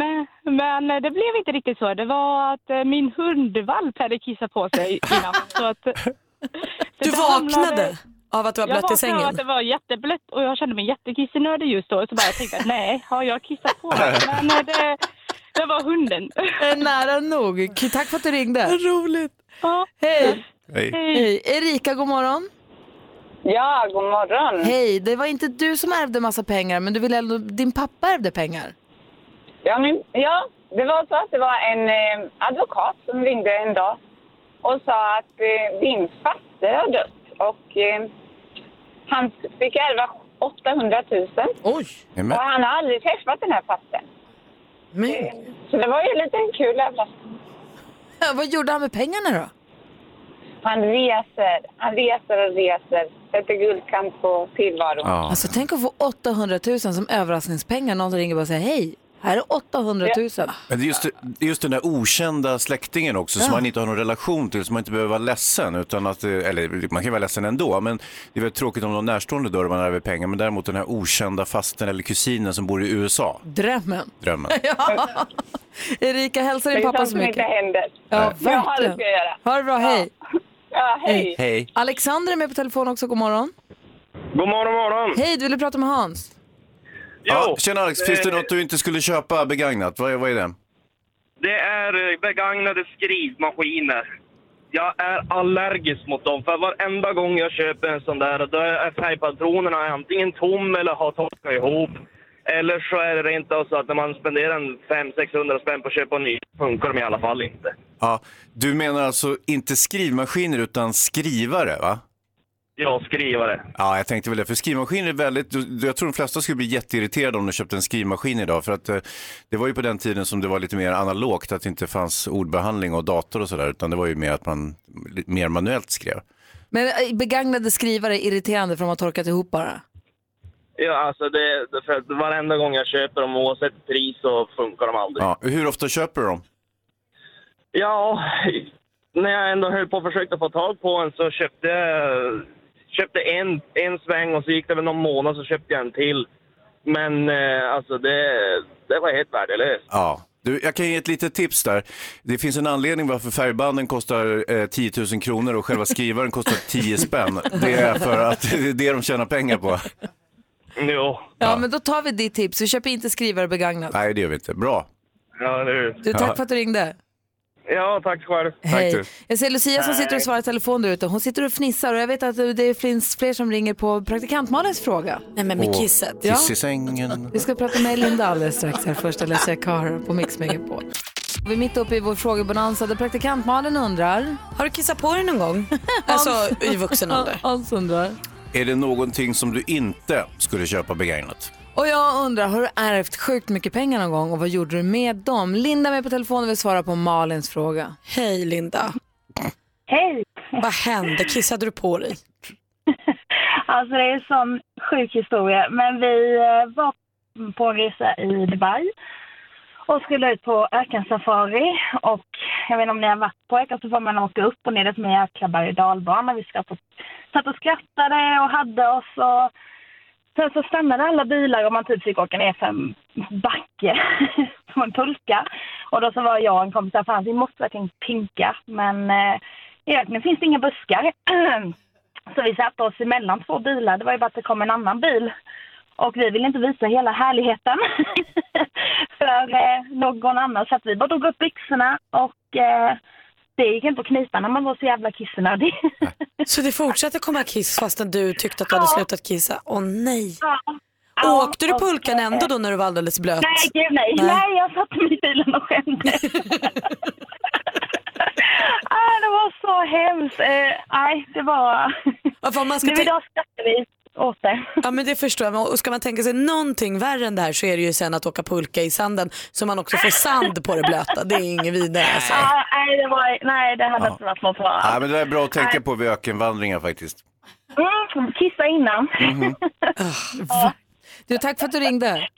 E: Men, men det blev inte riktigt så. Det var att eh, min hundvalp hade kissat på sig i natt. Så att, så
B: Du
E: det hamnade-
B: vaknade av att du var
E: Jag
B: blöt i
E: vaknade av att
B: sängen?
E: det var jätteblött och jag kände mig jättekissnödig just då. Så bara jag tänkte att nej, har jag kissat på mig? Men eh, det, det var hunden.
A: Eh, Nära nog. K- Tack för att du ringde.
B: Roligt.
E: Ja.
A: Hej!
C: Hej.
A: Hej. Erika, god morgon.
I: Ja, god morgon.
A: Hej, det var inte du som ärvde massa pengar, men du ville ändå, din pappa ärvde pengar.
I: Ja, men, ja, det var så att det var en eh, advokat som ringde en dag och sa att eh, din faster har dött och eh, han fick ärva 800 000
B: Oj.
I: och
C: Amen.
I: han har aldrig träffat den här fastern. Eh,
B: Men,
I: Så det var ju lite en kul överraskning.
A: Vad gjorde han med pengarna då?
I: Han reser, han reser och reser. Sätter guldkant på tillvaron.
C: Ja.
A: Alltså tänk att få 800 000 som överraskningspengar. Någon ringer och bara säger hej, här är 800 000.
C: Men det är just, det är just den där okända släktingen också som man inte har någon relation till, som man inte behöver vara ledsen. Utan att, eh, eller man kan ju vara ledsen ändå, men det är väl tråkigt om någon närstående dör och man ärver pengar. Men däremot den här okända fasten eller kusinen som bor i USA,
A: Drömmen.
C: drömmen.
A: Ja. Erika, hälsa
I: Det
A: din
I: är
A: pappa
I: sånt
A: så
I: som inte
A: mycket.
I: händer.
A: Ja,
I: Jag har det
A: verkligen.
I: ska jag göra.
A: Ha det bra, hej.
I: Ja, hej.
C: Hej.
A: Alexander är med på telefon också, god morgon.
J: God morgon, morgon.
I: Mm.
A: Hej, du ville prata med Hans.
C: Ja,
J: Jo,
C: tjena Alex, finns
J: Eh,
C: det något du inte skulle köpa begagnat? Vad är, vad är det?
J: det är eh, begagnade skrivmaskiner. Jag är allergisk mot dem, för varenda gång jag köper en sån där då är färgpatronerna antingen tom eller har torkat ihop. Eller så är det rent av så att när man spenderar en 500-600 spänn på att köpa en ny funkar de i alla fall inte.
C: Ja, du menar alltså inte skrivmaskiner utan skrivare, va?
J: Jag skrivare.
C: Ja, jag tänkte väl det. För skrivmaskiner är väldigt... du- Jag tror de flesta skulle bli jätteirriterade om de köpte en skrivmaskin idag. För att eh, det var ju på den tiden som det var lite mer analogt, att det inte fanns ordbehandling och dator och sådär. Utan det var ju mer att man li- mer manuellt skrev.
A: Men eh, begagnade skrivare är irriterande för de har torkat ihop bara.
J: Ja, alltså det, för att varenda gång jag köper dem oavsett pris så funkar de aldrig.
C: Ja, hur ofta köper du dem?
J: Ja, när jag ändå höll på och försökte få tag på en så köpte jag köpte en, en sväng och så gick det väl någon månad så köpte jag en till. Men eh, alltså det, det var helt värdelöst.
C: Ja. Du, jag kan ge ett litet tips där. Det finns en anledning varför färgbanden kostar eh, 10 000 kronor och själva skrivaren kostar 10 spänn. Det är för att det är det de tjänar pengar på.
J: Jo,
A: Ja, men då tar vi ditt tips. Vi köper inte skrivare begagnat.
C: Nej, det gör vi inte. Bra.
J: ja, det, är ju-
A: Du, tack för att du ringde.
J: ja tack själv.
A: Hej.
C: du.
A: Jag ser Lucia som sitter och svarar i telefon där ute. Hon sitter och fnissar och jag vet att det finns fler som ringer på praktikant Malins fråga.
B: Nej men med kisset.
C: Kiss i sängen.
A: Vi ska prata med Linda alldeles strax här. Först Alessia Cara på Mix Megapol. Vi är mitt uppe i vår frågebonanza där praktikant Malin undrar.
B: Har du kissat på dig någon gång? alltså i vuxen ålder.
A: Hans undrar.
C: Är det någonting som du inte skulle köpa begagnat?
A: Och jag undrar, har du ärvt sjukt mycket pengar någon gång och vad gjorde du med dem? Linda är med på telefon och vill svara på Malins fråga.
B: Hej Linda.
K: Hej!
B: Vad hände? Kissade du på dig?
K: Alltså det är en sån sjuk historia. Men vi eh, var på en resa i Dubai och skulle ut på ökensafari. Och jag vet inte om ni har varit på öken så får man åka upp och ner. Det är som en jäkla berg och dalbana. Vi satt och, satt och skrattade och hade oss. Och, sen så stannade alla bilar och man typ fick åka ner för en backe som en pulka. Och då så var jag och en kompis där, fan vi måste verkligen pinka. Men eh, i öknen finns det inga buskar. Så vi satte oss emellan två bilar. Det var ju bara att det kom en annan bil. Och vi ville inte visa hela härligheten för eh, någon annan. Så att vi bara drog upp byxorna och eh, det gick inte att knipa när man var så jävla kissnödig.
B: Så det fortsatte komma kiss fastän du tyckte att du hade slutat kissa? Åh nej.
K: Ja.
B: Åkte du pulkan ändå då när du var alldeles blöt?
K: Nej, gud nej.
B: Nej.
K: Nej, jag satt mig i bilen och skämde. ah, det var så hemskt. Eh, Nej, det var...
B: Ja, för om man ska
K: nu
B: tänka-
K: idag skrattar vi åt det.
B: Ja men det förstår jag. Men- Och ska man tänka sig någonting värre än det här så är det ju sen att åka pulka i sanden så man också får sand på det blöta. Det är inget vidare alltså.
K: Ah, nej, det var... nej, det hade inte varit något bra.
C: Nej, men det där är bra att tänka på vid ökenvandringar faktiskt. Mhm.
K: Mm, kissa innan.
B: Mm. Ah.
A: Du, tack för att du ringde.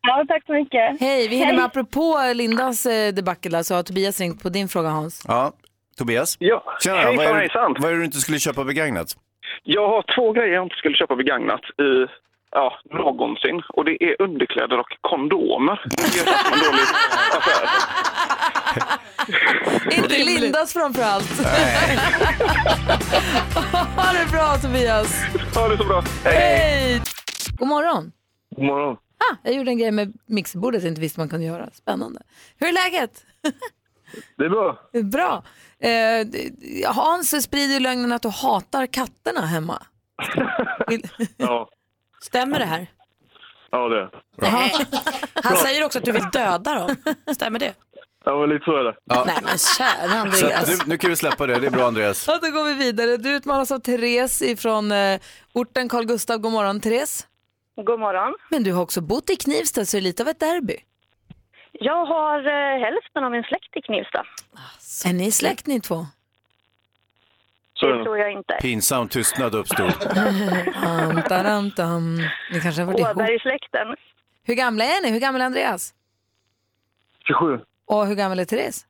K: ja, tack så mycket.
A: Hej, vi hinner med apropå Lindas eh, debacle där, så har Tobias ringt på din fråga Hans.
C: Ja, Tobias?
L: Ja,
C: Tjena,
L: hejsan
C: vad, är, det-
L: hejsan.
C: vad är det du inte skulle köpa begagnat?
L: Jag har två grejer jag inte skulle köpa begagnat i ja, någonsin. Och det är underkläder och kondomer. Det är faktiskt en dålig affär.
A: Inte Lindas framförallt. ha det bra Tobias.
L: Ha det så bra.
A: Hej! God morgon.
J: God morgon.
A: Ah, jag gjorde en grej med mixerbordet jag inte visste man kunde göra. Spännande. Hur är läget?
J: Det är bra.
A: Bra. Eh, d- Hans sprider ju lögnen att du hatar katterna hemma. Vill-
J: Ja,
B: Stämmer det här?
J: ja det.
B: Han säger också att du vill döda dem. Stämmer det?
J: Ja, men lite så är det.
B: Nej men kära
C: Så, att du,
B: Andreas.
C: nu kan vi släppa det, det är bra Andreas.
A: Ja, då går vi vidare. Du utmanas av Therese ifrån eh, orten Carl Gustav. God morgon Therese.
K: God morgon.
A: Men du har också bott i Knivsta så det är lite av ett derby.
K: Jag har eh, hälften av min släkt i Knivsta.
A: Är ni släkt ni två? Det tror
E: jag inte.
C: Pinsam tystnad uppstod.
A: Antarantam. Ni kanske har varit ihop.
E: Åberg-släkten.
A: Hur gamla är ni? Hur gammal är Andreas?
J: 27.
A: Och hur gammal är Therese?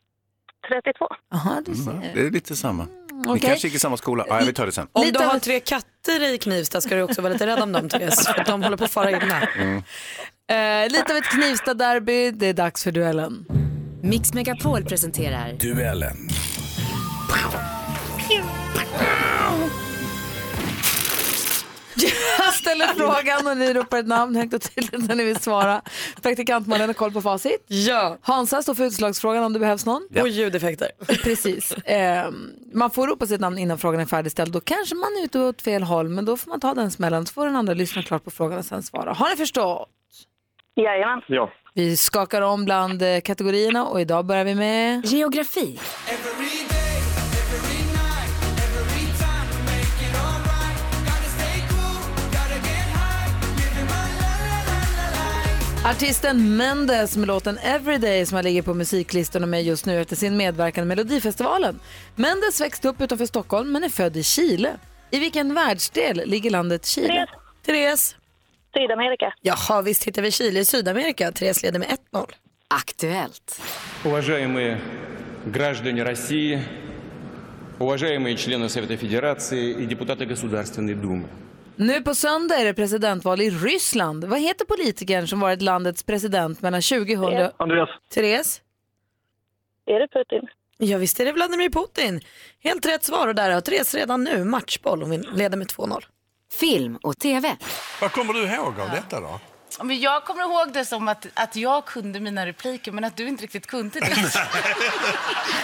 E: 32.
A: Jaha, du
C: Mm, det är lite samma. Ni
A: okej.
C: kanske gick i samma skola. Ja, vi tar det sen.
B: Om du har tre katter i Knivsta ska du också vara lite rädd om dem Therese, för att de håller på att fara illa.
C: Mm.
A: Eh, lite av ett Knivsta-derby. Det är dags för duellen.
H: Mix Megapol presenterar
M: Duellen.
A: Jag ställer frågan och ni ropar ett namn högt och tydligt när ni vill svara. Praktikant Malin har koll på facit.
B: Ja.
A: Hansa står för utslagsfrågan om det behövs någon.
B: Och ljudeffekter.
A: Precis. Ehm, man får ropa sitt namn innan frågan är färdigställd. Då kanske man är ute åt fel håll, men då får man ta den smällen. Så får den andra lyssna klart på frågan och sen svara. Har ni förstått?
E: Jajamän.
J: Ja.
A: Vi skakar om bland eh, kategorierna och idag börjar vi med...
H: Geografi.
A: Artisten Mendes med låten Everyday som han ligger på musiklistorna med just nu efter sin medverkan i Melodifestivalen. Mendes växte upp utanför Stockholm men är född i Chile. I vilken världsdel ligger landet Chile?
E: Therese.
B: Therese.
E: Sydamerika.
B: Jaha, visst hittar vi Chile i Sydamerika. Therese leder med 1-0.
H: Aktuellt.
N: Уважаемые граждане России, уважаемые члены Совета Федерации и депутаты Государственной Думы.
A: Nu på söndag är det presidentval i Ryssland. Vad heter politikern som varit landets president mellan 2000
B: Eh,
A: och...
J: Andreas.
B: Therese.
E: Är det Putin?
B: Ja visst är det Vladimir Putin. Helt rätt svar och där har Therese redan nu matchboll och vi leder med 2-0.
H: Film och TV.
M: Vad kommer du ihåg av detta då?
O: Men jag kommer ihåg det som att, att jag kunde mina repliker, men att du inte riktigt kunde det.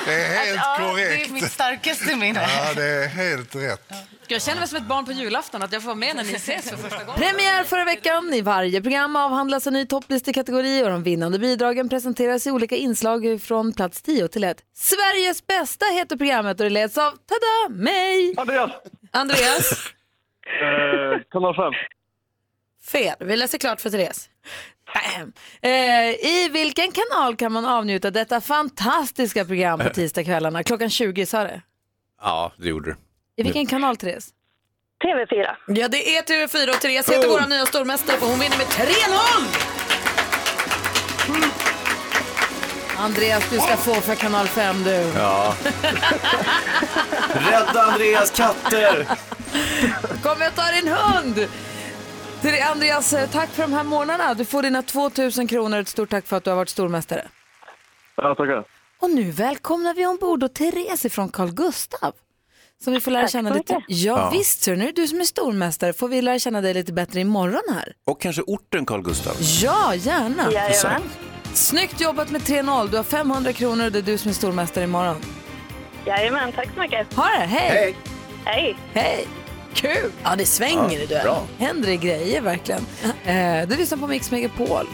M: Det är helt
O: Att, ja,
M: korrekt.
O: Det är mitt starkaste minne.
M: Ja, det är helt rätt.
P: Jag känner mig som ett barn på julafton, att jag får vara med när ni ses för första gången.
A: Premiär förra veckan. I varje program avhandlas en ny topplistekategori och de vinnande bidragen presenteras i olika inslag från plats 10 till 1. Sveriges bästa heter programmet och det leds av, tada, mig!
J: Andreas.
A: Andreas.
J: Eh, kanal 5.
B: Fel. Vi läser klart för Therese.
A: Bam. Eh, I vilken kanal kan man avnjuta detta fantastiska program på tisdagskvällarna? Klockan 20 sa det.
C: Ja, det gjorde du.
A: I vilken kanal, Therese?
E: TV4.
B: Ja, det är TV4 och Therese
M: Oh.
B: heter vår nya stormästare för hon vinner med 3-0!
A: Andreas, du ska få för kanal 5 du.
C: Ja. Rädda Andreas katter!
A: Kom jag tar din hund! Till Andreas, eh, tack för de här månaderna. Du får dina 2000 kronor. Ett stort tack för att du har varit stormästare.
J: Ja, tackar.
A: Och nu välkomnar vi ombord och Therese från Carl Gustav. Som vi får lära
E: Tack
A: känna
E: så
A: lite. Ja,
E: mycket.
A: ja.
C: Ja.
A: visst ser du, nu är det du som är stormästare. Får vi lära känna dig lite bättre imorgon här?
C: Och kanske orten Carl Gustav.
A: Ja, gärna.
E: Jajamän.
A: Snyggt jobbat med 3-0. Du har 500 kronor och det är du som är stormästare imorgon.
E: Jajamän, tack så mycket.
A: Ha det, hej!
E: Hej.
A: Hej! Kul!
B: Ja, det svänger i duellen.
C: Bra.
A: händer det grejer verkligen. Eh, du lyssnar på Mix Megapol.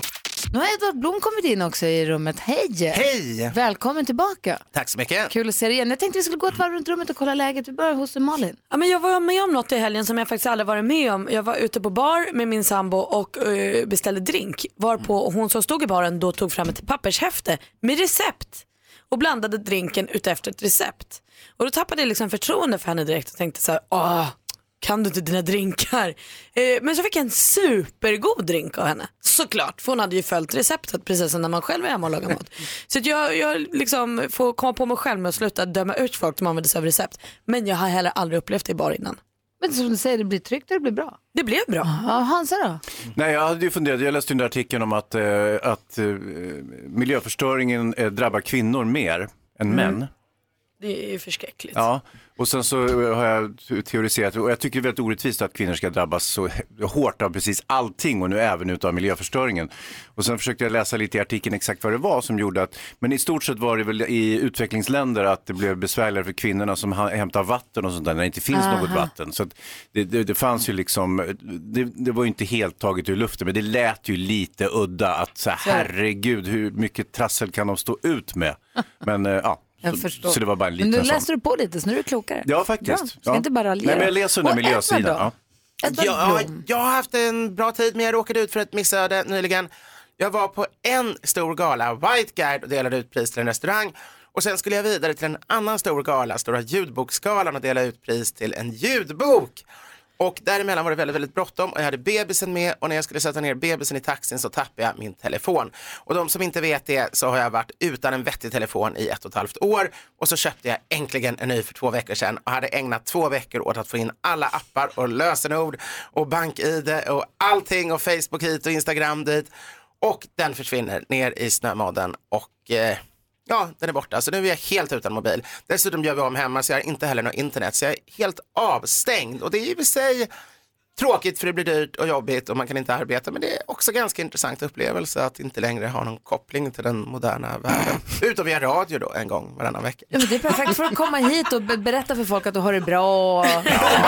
A: Nu har Edvard Blom kommit in också i rummet. Hej!
M: Hej!
A: Välkommen tillbaka.
M: Tack så mycket.
A: Kul att se dig igen. Jag tänkte vi skulle gå ett varv runt rummet och kolla läget. Vi börjar hos Malin.
B: Ja, men jag var med om något i helgen som jag faktiskt aldrig varit med om. Jag var ute på bar med min sambo och eh, beställde drink. Varpå hon som stod i baren då tog fram ett pappershäfte med recept och blandade drinken utefter ett recept. Och då tappade jag liksom förtroende för henne direkt och tänkte så här, åh, kan du inte dina drinkar? Eh, men så fick jag en supergod drink av henne. Såklart, för hon hade ju följt receptet precis som när man själv är hemma och lagar mat. Så att jag, jag liksom får komma på mig själv med att sluta döma ut folk som använder sig av recept. Men jag har heller aldrig upplevt det i bar innan.
A: Men som du säger, det blir tryggt och det blir bra.
B: Det blev bra.
A: Ja, Hansa då?
C: Nej, jag hade ju funderat, jag läste den där artikeln om att, eh, att eh, miljöförstöringen eh, drabbar kvinnor mer
A: Mm.
C: än män.
B: Det är ju förskräckligt.
C: Ja, och sen så eh, har jag teoriserat, och jag tycker det är väldigt orättvist att kvinnor ska drabbas så h- hårt av precis allting och nu även utav miljöförstöringen. Och sen försökte jag läsa lite i artikeln exakt vad det var som gjorde att, men i stort sett var det väl i utvecklingsländer att det blev besvärligare för kvinnorna som ha- hämtar vatten och sånt där när det inte finns
A: Aha.
C: något vatten. Så att det, det, det fanns ju liksom, det, det var ju inte helt taget ur luften, men det lät ju lite udda att så här, herregud, hur mycket trassel kan de stå ut med? Men eh, ja.
A: Jag
C: så,
A: förstår.
C: så det var bara en liten
A: Men nu
C: sån.
A: läser du på lite, så nu är du klokare.
C: Ja, faktiskt.
A: Bra. Ska
C: ja.
A: inte bara raljera.
C: Nej, men jag läser den
A: Och
C: där miljösidan.
A: Edvard
C: Ja.
A: då? Edvard
Q: Jag,
A: Blom.
Q: jag har haft en bra tid men jag råkade ut för ett missöde nyligen. Jag var på en stor gala, White Guide, och delade ut pris till en restaurang. Och sen skulle jag vidare till en annan stor gala, Stora ljudboksgalan och dela ut pris till en ljudbok. Och däremellan var det väldigt, väldigt bråttom och jag hade bebisen med och när jag skulle sätta ner bebisen i taxin så tappade jag min telefon. Och de som inte vet det så har jag varit utan en vettig telefon i ett och ett halvt år och så köpte jag äntligen en ny för två veckor sedan och hade ägnat två veckor åt att få in alla appar och lösenord och bank-id och allting och Facebook hit och Instagram dit. Och den försvinner ner i snömodden och eh, ja, den är borta. Så nu är jag helt utan mobil. Dessutom gör vi om hemma så jag har inte heller något internet. Så jag är helt avstängd och det är ju i sig tråkigt för det blir dyrt och jobbigt och man kan inte arbeta. Men det är också ganska intressant upplevelse att inte längre ha någon koppling till den moderna världen. Utom via radio då en gång varannan vecka.
A: Ja, men det är perfekt för att komma hit och be- berätta för folk att du har det bra.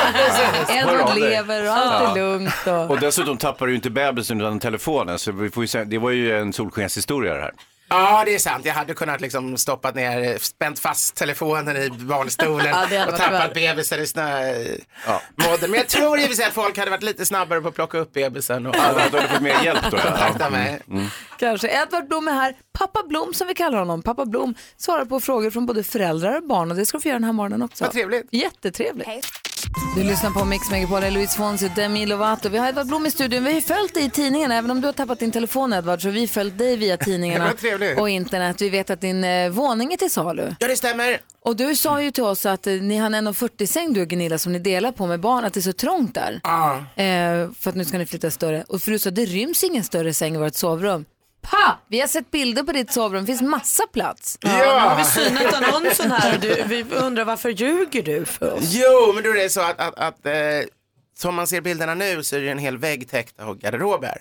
C: Hör
A: Edward
C: av dig.
A: lever och allt är
C: Ja.
A: lugnt. Och...
C: Och dessutom tappar du ju inte bebisen utan telefonen. Så vi får ju säga, det var ju en solskenshistoria det här.
Q: Ja, det är sant. Jag hade kunnat liksom stoppat ner, spänt fast telefonen i barnstolen
C: Ja, det hade
Q: och
C: varit
Q: tappat
C: värre.
Q: bebisen i snömodden.
C: Ja.
Q: Men jag tror i och för sig att folk hade varit lite snabbare på att plocka upp bebisen. Och...
C: Ja, då hade Alltså, du fått mer hjälp då, ja.
Q: Kontakta
C: Ja, mm,
Q: mig.
A: Kanske. Edvard Blom är här. Pappa Blom som vi kallar honom. Pappa Blom svarar på frågor från både föräldrar och barn och det ska du få göra den här morgonen också.
Q: Vad trevligt.
A: Jättetrevligt. Du lyssnar på Mix Megapol, jag är Louise Fonzie och Demi Lovato. Vi har Edvard Blom i studion. Vi har ju följt dig i tidningarna, även om du har tappat din telefon Edvard, så har vi följt dig via
Q: Det
A: tidningarna
Q: var trevligt.
A: och internet. Vi vet att din eh, våning är till salu.
Q: Ja, det stämmer.
A: Och du sa ju till oss att eh, ni har en 1,40-säng du och Gunilla som ni delar på med barn, att det är så trångt där. Eh, för att nu ska ni flytta större. Och för du sa, det ryms ingen större säng i vårt sovrum. Pa! Vi har sett bilder på ditt sovrum, det finns massa plats.
Q: Ja!
B: Har vi synat annonsen här? Du, vi undrar varför ljuger du för oss?
Q: Jo, men då är det så att, att, att eh, som man ser bilderna nu så är det en hel vägg täckt av garderober.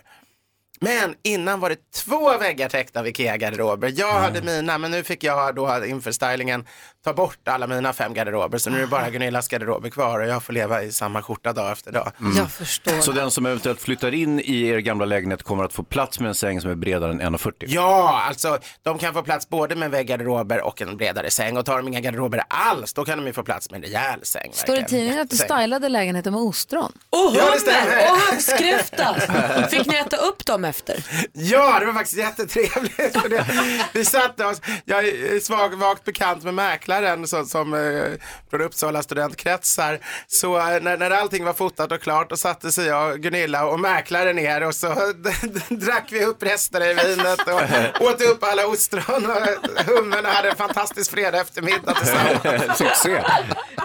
Q: Men innan var det två väggar täckta av Ikea-garderober. Jag
A: Mm.
Q: hade mina, men nu fick jag då inför stylingen ta bort alla mina fem garderober. Så nu är det bara Gunillas garderober kvar och jag får leva i samma skjorta dag efter dag.
A: Jag förstår.
C: Mm. Så den som eventuellt flyttar in i er gamla lägenhet kommer att få plats med en säng som är bredare än 1,40?
Q: Ja, alltså de kan få plats både med en vägg garderober och en bredare säng. Och tar de inga garderober alls, då kan de ju få plats med en rejäl säng.
A: Står det i tidningen att du stylade lägenheten med ostron? Oh.
B: Och
Q: Ja, det stämmer.
B: hummer och havskräfta. Fick ni äta upp dem efter?
Q: Ja, det var faktiskt jättetrevligt. För det, vi satte oss, jag är svag, vagt bekant med mäklaren som, som eh, från Uppsala studentkretsar. Så eh, när, när allting var fotat och klart då satte sig jag, Gunilla och mäklaren ner och så drack vi upp resterna i vinet och åt upp alla ostron och hummen och hade en fantastisk fredag eftermiddag tillsammans.
C: Succé.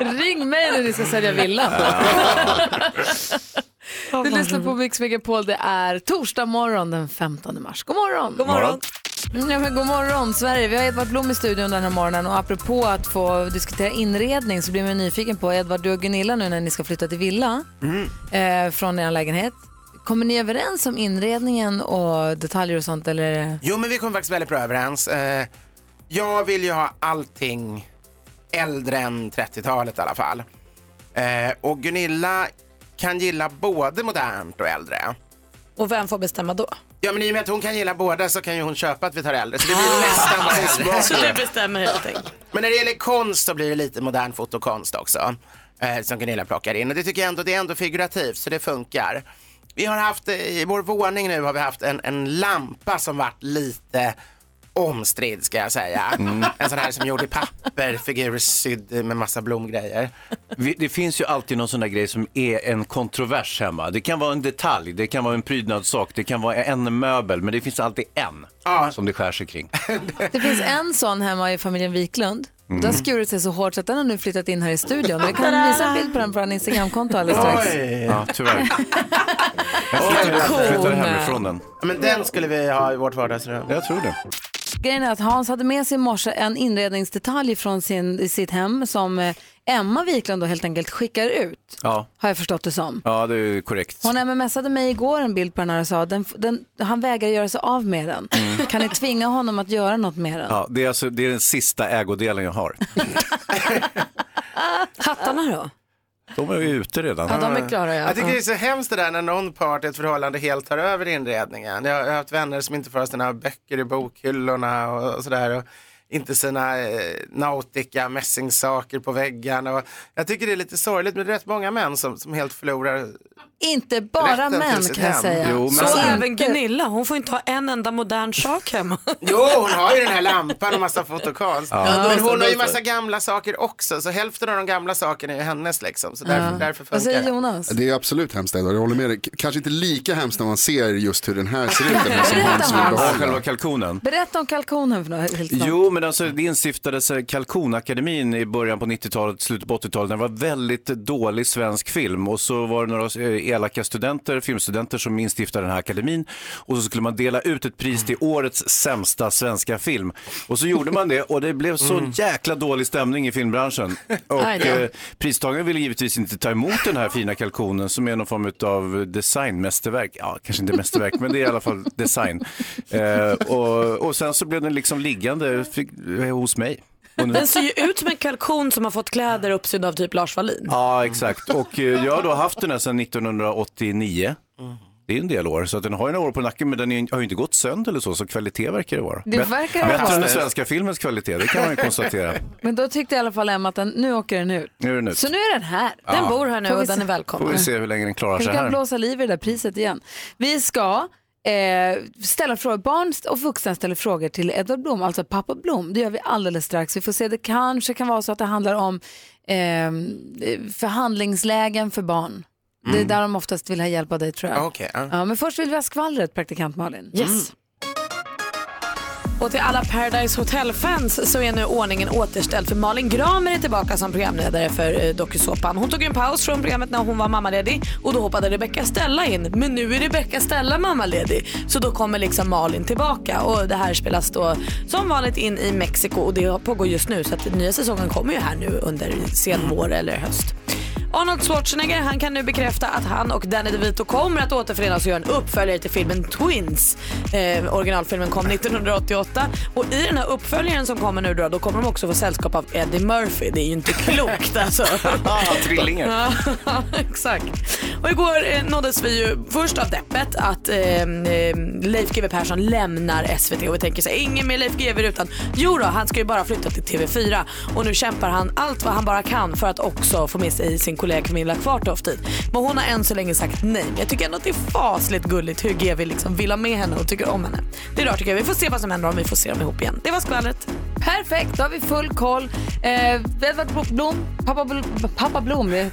A: Ring mig när ni ska sälja villa. Du lyssnar på Mix Megapol. Det är torsdag morgon den 15 mars. God morgon!
B: God morgon.
A: Ja, men god morgon Sverige. Vi har Edvard Blom i studion den här morgonen och apropå att få diskutera inredning så blir man nyfiken på Edvard, du och Gunilla nu när ni ska flytta till villa
Q: Mm.
A: eh, från er lägenhet. Kommer ni överens om inredningen och detaljer och sånt eller?
Q: Jo, men vi kom faktiskt väldigt bra överens. Eh, jag vill ju ha allting äldre än 30-talet i alla fall. Eh, och Gunilla kan gilla både modernt och äldre.
B: Och vem får bestämma då?
Q: Ja, men i och med att hon kan gilla båda så kan ju hon köpa att vi tar äldre. Så det
B: Ah.
Q: blir nästan bara äldre.
B: Så Alltså, du bestämmer helt enkelt.
Q: Men när det gäller konst så blir det lite modern fotokonst också. Eh, som Gunilla plockar in. Och det tycker jag ändå, det är ändå figurativt så det funkar. Vi har haft, eh, i vår våning nu har vi haft en, en lampa som varit lite omstridd ska jag säga.
C: Mm.
Q: En sån här som gjord i papper, figursydd med massa blomgrejer.
C: Vi, det finns ju alltid någon sån där grej som är en kontrovers hemma. Det kan vara en detalj, det kan vara en prydnadssak, det kan vara en möbel, men det finns alltid en som det skär sig kring.
A: Det finns en sån hemma i familjen Wiklund.
C: Mm.
A: Den har skurit sig så hårt så att den har nu flyttat in här i studion. Vi kan visa en bild på den på vår Instagramkonto alldeles strax.
C: Ja, tyvärr. Jag flyttade, flyttade hemifrån den.
Q: Men den skulle vi ha i vårt vardagsrum.
C: Jag tror det.
A: Grejen är att Hans hade med sig i morse en inredningsdetalj från sin, i sitt hem som eh, Emma Wiklund då helt enkelt skickar ut,
C: Ja,
A: har jag förstått det som.
C: ja det är korrekt.
A: Hon mmsade mig igår en bild på den här och sa den, den, han vägrar göra sig av med den. Kan ni tvinga honom att göra något med den?
C: Mm. Ja, det, är alltså, det är den sista ägodelen jag har.
A: Hattarna då?
C: De är ju ute redan.
Q: Jag tycker det är så hemskt det där när någon part i ett förhållande helt tar över inredningen. Jag jag har haft vänner som inte får ha sina böcker i bokhyllorna och och sådär. Och inte sina eh, nautica mässingssaker på väggarna. Och jag tycker det är lite sorgligt men det är rätt många män som, som helt förlorar
A: Inte bara
B: Rätten
A: män
B: till sitt
A: kan jag
B: hem.
A: säga.
Q: Jo, men-
B: Så
Q: Alltså,
B: även Gunilla, hon får inte ha en enda modern sak hemma.
Q: Jo, hon har ju den här lampan och massa fotokonst.
B: Ja.
Q: Men hon har ju massa gamla saker också, så hälften av de gamla sakerna är ju hennes liksom. Så därför, därför
D: Alltså,
Q: funkar det.
A: Jonas?
D: Det är absolut hemskt Edward, jag håller med dig. K- Kanske inte lika hemskt när man ser just hur den här ser ut. Den här som hon som vill
C: Ja,
D: behålla.
C: Själva kalkonen.
A: Berätta om kalkonen för något helt snabbt.
C: Jo, men alltså det instiftades eh, Kalkonakademin i början på 90-talet, slutet på 80-talet. Det var väldigt dålig svensk film och så var det några eh, elaka studenter, filmstudenter som instiftade den här akademin och så skulle man dela ut ett pris till årets sämsta svenska film. Och så gjorde man det och det blev så jäkla dålig stämning i filmbranschen. Och
A: Aj då.
C: eh, pristagaren ville givetvis inte ta emot den här fina kalkonen som är någon form av designmästerverk. Ja, kanske inte mästerverk, men det är i alla fall design. Eh, och, och sen så blev den liksom liggande fick, eh, hos mig. Och nu-
B: Den ser ju ut som en kalkon som har fått kläder uppsydda av typ Lars Wallin.
C: Ja, exakt. Och eh, jag har då haft den här sedan 1989. Det är en del år, så att den har ju några år på nacken, men den är, har ju inte gått sönder eller så, så kvalitet verkar det vara.
A: Det verkar det
C: Bättre
A: vara.
C: än den svenska filmens kvalitet, det kan man ju konstatera.
A: Men då tyckte i alla fall Emma att den, nu åker den ut.
C: Nu är den ut.
A: Så nu är den här.
C: Ja. Den bor här nu
A: Får vi
B: och den
A: se-
B: är välkommen.
C: Får vi se hur länge den klarar
A: Vi
C: sig
A: kan
C: här.
A: blåsa liv i det där priset igen. Vi ska eh, ställa frågor. Barn st- och vuxna ställer frågor till Edvard Blom, alltså pappa Blom. Det gör vi alldeles strax. Vi får se, det kanske kan vara så att det handlar om eh, förhandlingslägen för barn. Det är
C: Mm.
A: där de oftast vill ha hjälp av dig tror
C: Ah,
A: jag.
Q: Okej, ja.
A: ja, men först vill vi ha skvallret, praktikant Malin.
B: Yes. Och till alla Paradise Hotel-fans så är nu ordningen återställd för Malin Gramer är tillbaka som programledare för eh, dokusåpan. Hon tog en paus från programmet när hon var mammaledig och då hoppade Rebecca Stella in. Men nu är Rebecca Stella mammaledig så då kommer liksom Malin tillbaka och det här spelas då som vanligt in i Mexiko och det pågår just nu så att nya säsongen kommer ju här nu under sen vår eller höst.
A: Mm.
B: Arnold Schwarzenegger han kan nu bekräfta att han och Danny DeVito kommer att återförenas och göra en uppföljare till filmen Twins. Eh, originalfilmen kom 1988 och i den här uppföljaren som kommer nu då, då kommer de också få sällskap av Eddie Murphy. Det är ju inte klokt alltså.
C: Trillingar.
B: Ja, exakt. Och igår eh, nåddes vi ju först av deppet att eh, eh, Leif GW Persson lämnar SVT och vi tänker så här, ingen mer Leif GW utan jo då, han ska ju bara flytta till TV4 och nu kämpar han allt vad han bara kan för att också få med sig sin kollega Camilla Kvartoft dit. Men hon har än så länge sagt nej. Men Jag tycker ändå att det är fasligt gulligt hur GW liksom vill ha med henne och tycker om henne. Det är rart tycker jag. Vi får se vad som händer om vi får se dem ihop igen. Det var skvallret.
A: Perfekt, då har vi full koll. Eh, Edvard Bl- Blom, pappa, Bl- pappa Blom,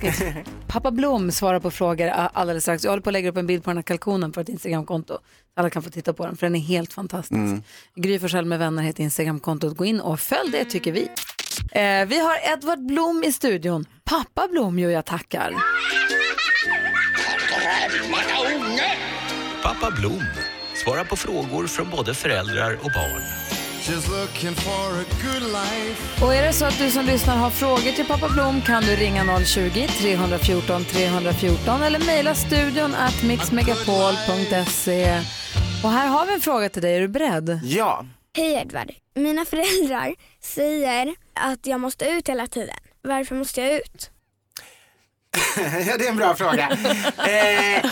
A: pappa Blom svarar på frågor a- alldeles strax. Jag håller på att lägga upp en bild på den här kalkonen på ett Instagramkonto. Alla kan få titta på den för den är helt fantastisk.
B: Mm.
A: Gry Forssell med vänner heter Instagramkontot. Gå in och följ det tycker vi. Eh, vi har Edvard Blom i studion. Pappa Blom ju jag tackar.
R: Pappa Blom svarar på frågor från både föräldrar och barn.
A: Och är det så att du som lyssnar har frågor till pappa Blom kan du ringa 020-314 314 eller mejla studion at mixmegapol.se. Och här har vi en fråga till dig, är du beredd?
Q: Ja.
S: Hej Edvard. Mina föräldrar säger att jag måste ut hela tiden. Varför måste jag ut?
Q: ja, det är en bra fråga. Eh,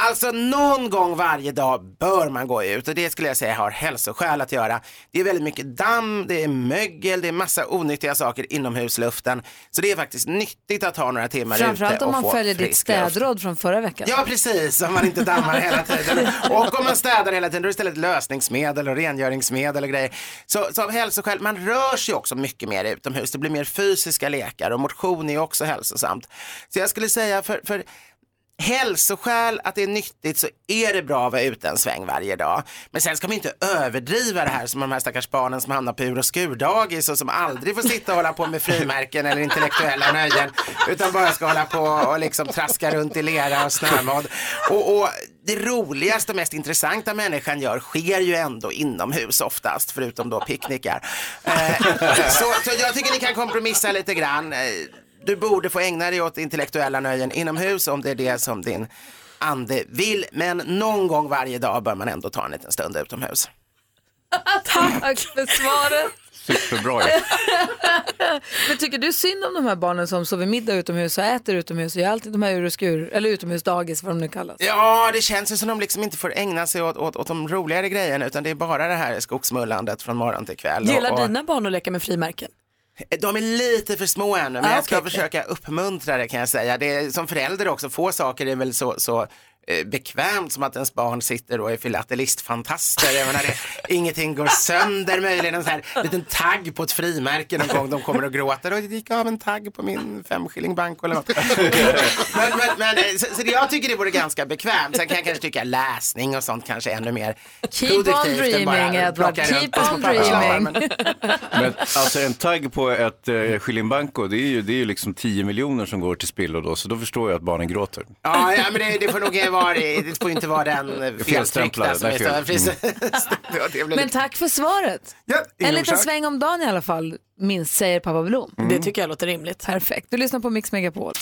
Q: alltså någon gång varje dag bör man gå ut och det skulle jag säga har hälsoskäl att göra. Det är väldigt mycket damm, det är mögel, det är massa onyttiga saker inomhusluften. Så det är faktiskt nyttigt att ha några timmar
A: Framförallt
Q: ute
A: om
Q: och
A: man
Q: få
A: följer ditt
Q: frisk luft.
A: städråd från förra veckan.
Q: Ja precis, om man inte dammar hela tiden. Och om man städar hela tiden, då är det istället lösningsmedel och rengöringsmedel och grejer. Så, så av hälsoskäl, man rör sig också mycket mer utomhus. Det blir mer fysiska lekar och motion är ju också hälsosamt. Så jag skulle säga för, för hälsoskäl, att det är nyttigt så är det bra att vara ute en sväng varje dag. Men sen ska man ju inte överdriva det här som de här stackars barnen som hamnar på ur och skurdagis och som aldrig får sitta och hålla på med frimärken eller intellektuella nöjen utan bara ska hålla på och liksom traska runt i lera och snömodd. Och, och det roligaste och mest intressanta människan gör sker ju ändå inomhus oftast, förutom då picknickar. Eh, så, så jag tycker ni kan kompromissa lite grann. Eh, du borde få ägna dig åt intellektuella nöjen inomhus om det är det som din ande vill. Men någon gång varje dag bör man ändå ta en liten stund utomhus.
A: Tack för svaret.
C: Superbra
A: Men tycker du synd om de här barnen som sover middag utomhus och äter utomhus och gör alltid de här ur och skur, eller utomhusdagis vad de nu kallas?
Q: Ja, det känns ju som de liksom inte får ägna sig åt, åt, åt de roligare grejerna utan det är bara det här skogsmullandet från morgon till kväll.
B: Gillar
Q: Och- och-
B: dina barn att leka med frimärken?
Q: De är lite för små ännu, men
B: Ah,
Q: jag ska
B: okej.
Q: försöka uppmuntra det kan jag säga. Det är, som förälder också, få saker är väl så, så eh, bekvämt som att ens barn sitter och är filatelistfantaster. Jag menar, det, ingenting går sönder, möjligen en sån här liten tagg på ett frimärke någon gång. De kommer och gråter och det gick av en tagg på min femskillingbank eller något. men, men, men, eh, så, så det- jag tycker det vore ganska bekvämt. Sen kan jag kanske tycka läsning och sånt kanske är ännu mer
A: Keep on dreaming, Edward.
Q: plocka runt
A: Keep
Q: på små
A: on
Q: papperslappar,
A: dreaming.
Q: men-
C: Men alltså en tagg på ett eh, skillingbanko, det är ju, det är ju liksom 10 miljoner som går till spillo då, så då förstår jag att barnen gråter.
Q: Ja, ja men det, det får nog vara, det får ju inte vara den eh, feltryckta
C: Felstämplade,
Q: som är
C: nej, fel.
Q: fel.
C: Mm.
Q: det blir
A: Men tack för svarvet.
Q: ingen
A: en liten
Q: orsak.
A: sväng om dagen i alla fall, minst säger pappa Blom.
B: Mm. Det tycker jag låter rimligt.
A: Perfekt. Du lyssnar på Mix Megapol.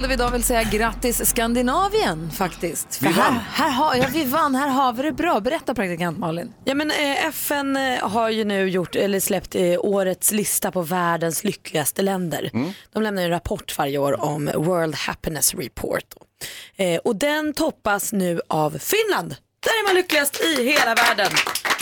A: Då vi idag vill säga grattis Skandinavien faktiskt. För
B: Vi
A: här,
B: vann.
A: här har, ja, vi vann, här har vi det bra. Berätta praktikant Malin.
B: Ja, men, eh, FN eh, har ju nu gjort, eller släppt eh, årets lista på världens lyckligaste länder. De lämnar ju en rapport varje år om World Happiness Report. Eh, och den toppas nu av Finland. Där är man lyckligast i hela världen.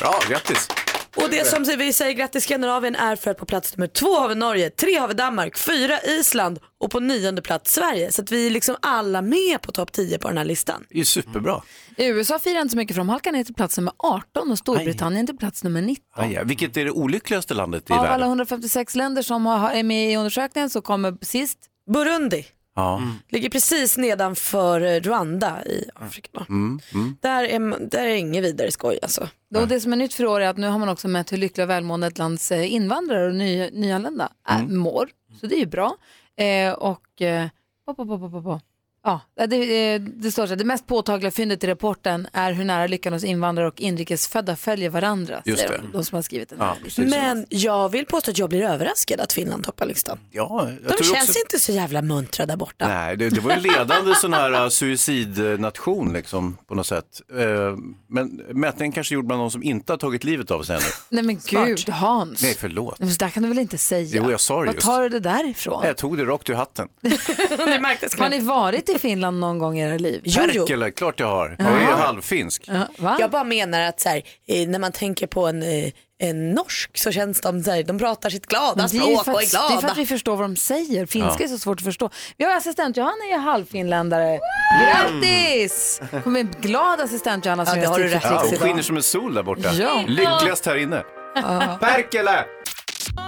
C: Bra, grattis.
B: Och det som vi säger grattis Skandinavien är för att på plats nummer två har vi Norge, tre har vi Danmark, fyra Island och på nionde plats Sverige. Så att vi är liksom alla med på topp 10 på den här listan.
C: Det är ju superbra.
A: I Mm. USA firar inte så mycket för de halkar ner till plats nummer 18 och Storbritannien till plats nummer 19.
C: Aj, Ah, ja. Vilket är det olyckligaste landet i
A: Av alla
C: världen?
A: 156 länder som har, är med i undersökningen så kommer sist
B: Burundi.
C: Ja.
B: Ligger precis nedanför eh, Rwanda i Afrika.
C: Mm, mm.
B: Där är, där är inget vidare skoj alltså.
A: Och det som är nytt för i år är att nu har man också mätt hur lyckliga och välmående ett lands eh, invandrare och ny, nyanlända är,
C: Mm.
A: mår. Så det är ju bra. Eh, och eh, pop, pop, pop, pop, pop, pop. Ja, det, eh, det står så här, det mest påtagliga fyndet i rapporten är hur nära lyckan hos invandrare och inrikesfödda följer varandra.
B: Just
A: säger
B: det.
A: De, de som har skrivit den här.
B: Ja,
C: Mm.
B: Men jag vill påstå att jag blir överraskad att Finland toppar listan.
C: Ja, jag
B: De
C: tror
B: känns
C: också-
B: inte så jävla muntra där borta.
C: Nej, det, det var ju en ledande sån här eh, suicidnation liksom på något sätt. Eh, Men mätningen kanske gjord bland de som inte har tagit livet av sig ännu.
A: Nej men gud Hans.
C: Nej, förlåt.
A: Men Så där kan du väl inte säga?
C: Jo, jag sa det
A: Vad
C: just.
A: tar du det där ifrån?
C: Nej, Jag tog det rakt ur hatten.
A: Har ni varit i Finland någon gång i era liv?
C: Perkele, klart jag har. Jag är ju halvfinsk.
B: Jag bara menar att så här, eh, när man tänker på en, eh, en norsk så känns de så här, de pratar sitt glada
A: Men det är ju
B: språk
A: för
B: och är
A: att, det är för
B: glada.
A: att vi förstår vad de säger. Finska
B: Ja.
A: är så svårt att förstå. Vi har assistent Johanna är ju halvfinländare. Grattis! Kom en glad assistent Johanna som
B: Mm. Ja,
A: gör
B: det har du
A: stick-
C: Ja, hon
A: idag.
C: skiner som en sol där borta.
A: Ja.
C: Lyckligast här inne.
A: Ja.
C: Perkele!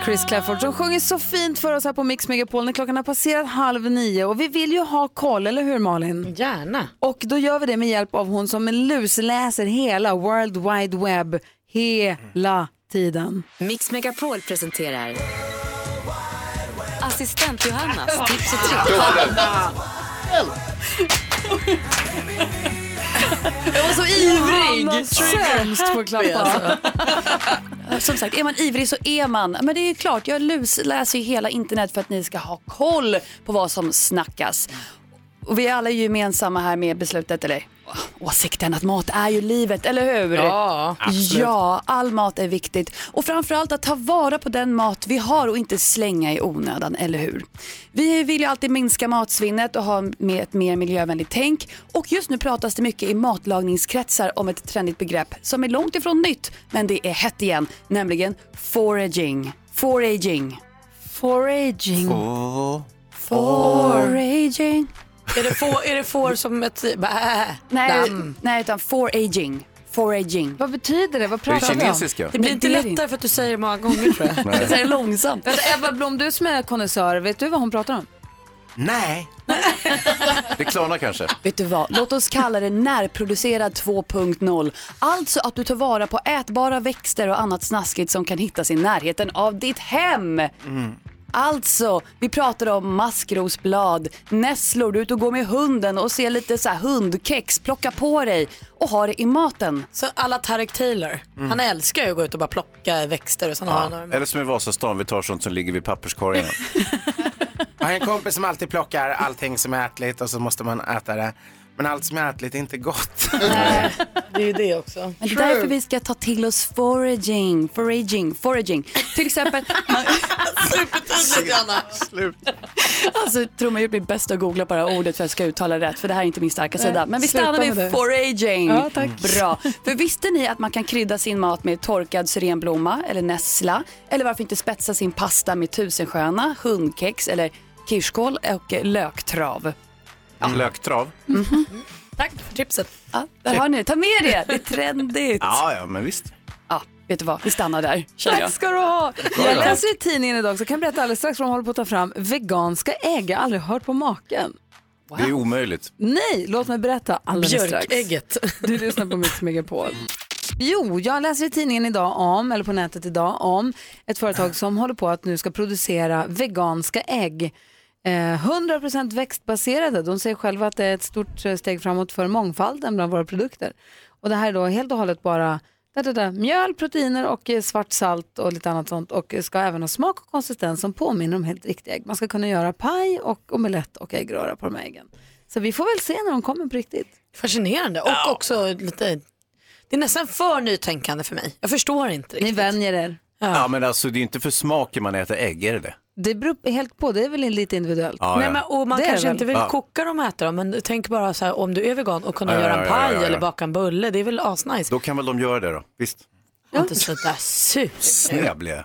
A: Chris Clafford som sjunger så fint för oss här på Mix Megapol när klockan har passerat halv nio och vi vill ju ha koll, eller hur Malin?
B: Gärna.
A: Och då gör vi det med hjälp av hon som lusläser hela World Wide Web hela tiden.
H: Mix Megapol presenterar Assistent Johannas tips och trick.
A: Jag var så
P: ivrig.
A: Johanna, sämst på att klappa.
P: Som sagt, är man ivrig så är man. Men det är ju klart, jag lusläser ju hela internet för att ni ska ha koll på vad som snackas. Och vi är alla ju gemensamma här med beslutet, eller åh, åsikten att mat är ju livet, eller hur?
A: Ja, absolut.
P: Ja, all mat är viktigt. Och framförallt att ta vara på den mat vi har och inte slänga i onödan, eller hur? Vi vill ju alltid minska matsvinnet och ha med ett mer miljövänligt tänk. Och just nu pratas det mycket i matlagningskretsar om ett trendigt begrepp som är långt ifrån nytt, men det är hett igen, nämligen foraging. Foraging.
A: Foraging.
P: Foraging.
B: Är det får, är det får som ett bä,
P: Nej,
B: damm?
P: nej utan foraging. Foraging.
A: Vad betyder det? Vad
P: pratar
A: det
P: vi om?
A: kinesiska?
B: Det blir inte
P: det är
B: lättare för att du säger det många gånger tror jag.
P: Jag säger det långsamt.
A: Vänta, Ebba Blom, du som är konnässör, vet du vad hon pratar om?
Q: Nej.
C: Det klarnar kanske.
P: Vet du vad, låt oss kalla det närproducerad 2.0. Alltså att du tar vara på ätbara växter och annat snaskigt som kan hittas i närheten av ditt hem. Alltså, vi pratar om maskrosblad, nässlor, du är ute och går med hunden och ser lite så här hundkex, plocka på dig och ha det i maten.
B: Så alla Tarek Taylor,
C: Mm.
B: han älskar ju att gå ut och bara plocka växter och sen har han dem.
C: Eller som i Vasastan, vi tar sånt som ligger vid papperskorgen.
Q: Jag har en kompis som alltid plockar allting som är ätligt och så måste man äta det. Men allt som är ätligt är inte gott.
B: Det är ju det också.
P: Men det är därför vi ska ta till oss foraging, foraging, foraging. Till exempel, man,
B: Supertydligt Anna. Slut.
P: Alltså Trumma gjort mitt bästa att googla bara ordet för att jag ska uttala rätt för det här är inte min starka
B: Nej,
P: sida. Men vi
B: sluta
P: stannar
B: med det.
P: vid foraging.
B: Ja, tack.
P: Bra. För visste ni att man kan krydda sin mat med torkad syrenblomma eller nässla eller varför inte spetsa sin pasta med tusenstjärna, hundkex eller kirskål och eh, löktrav.
C: Löktrav?
B: Tack för tipset.
P: Ja, där har ni det. Ta med det, det är trendigt.
C: Ja, ja, men visst.
P: Ja, vet du vad, vi stannar där. känner jag.
A: Tack ska du ha.
P: då.
A: Jag läser i tidningen idag så kan jag berätta alldeles strax vad de håller på att ta fram. Veganska ägg, jag har aldrig hört på maken.
C: Det är omöjligt.
A: Nej, låt mig berätta alldeles strax.
B: Björkägget.
A: Du lyssnar på Mix Megapol. Jo, jag läser i tidningen idag om, eller på nätet idag om, ett företag som håller på att nu ska producera veganska ägg. Eh, 100% växtbaserade. De säger själva att det är ett stort eh, steg framåt för mångfalden bland våra produkter. Och det här är då helt och hållet bara där, där, där, mjöl, proteiner och eh, svart salt och lite annat sånt. Och eh, ska även ha smak och konsistens som påminner om helt riktiga ägg. Man ska kunna göra paj och omelett och äggröra på de här äggen. Så vi får väl se när de kommer på riktigt.
B: Fascinerande och också lite, det är nästan för nytänkande för mig. Jag förstår inte riktigt. Ni
A: vänjer er.
C: Ja. men alltså det är inte för smaken man äter ägg, är det det?
A: Det beror helt på, det är väl lite individuellt.
C: Ja,
B: Nej,
C: ja.
B: men, och man
A: Det är
B: kanske
A: det
B: inte
A: väl.
B: vill
C: Ja.
B: koka dem och äta dem, men tänk bara så här, om du är vegan och kunna
C: Ja, ja,
B: göra en
C: ja,
B: paj
C: ja, ja.
B: eller baka en bulle, det är väl asnice.
C: Då kan väl de göra det då? Visst?
B: Inte sådär sus.
C: Snäv blev jag.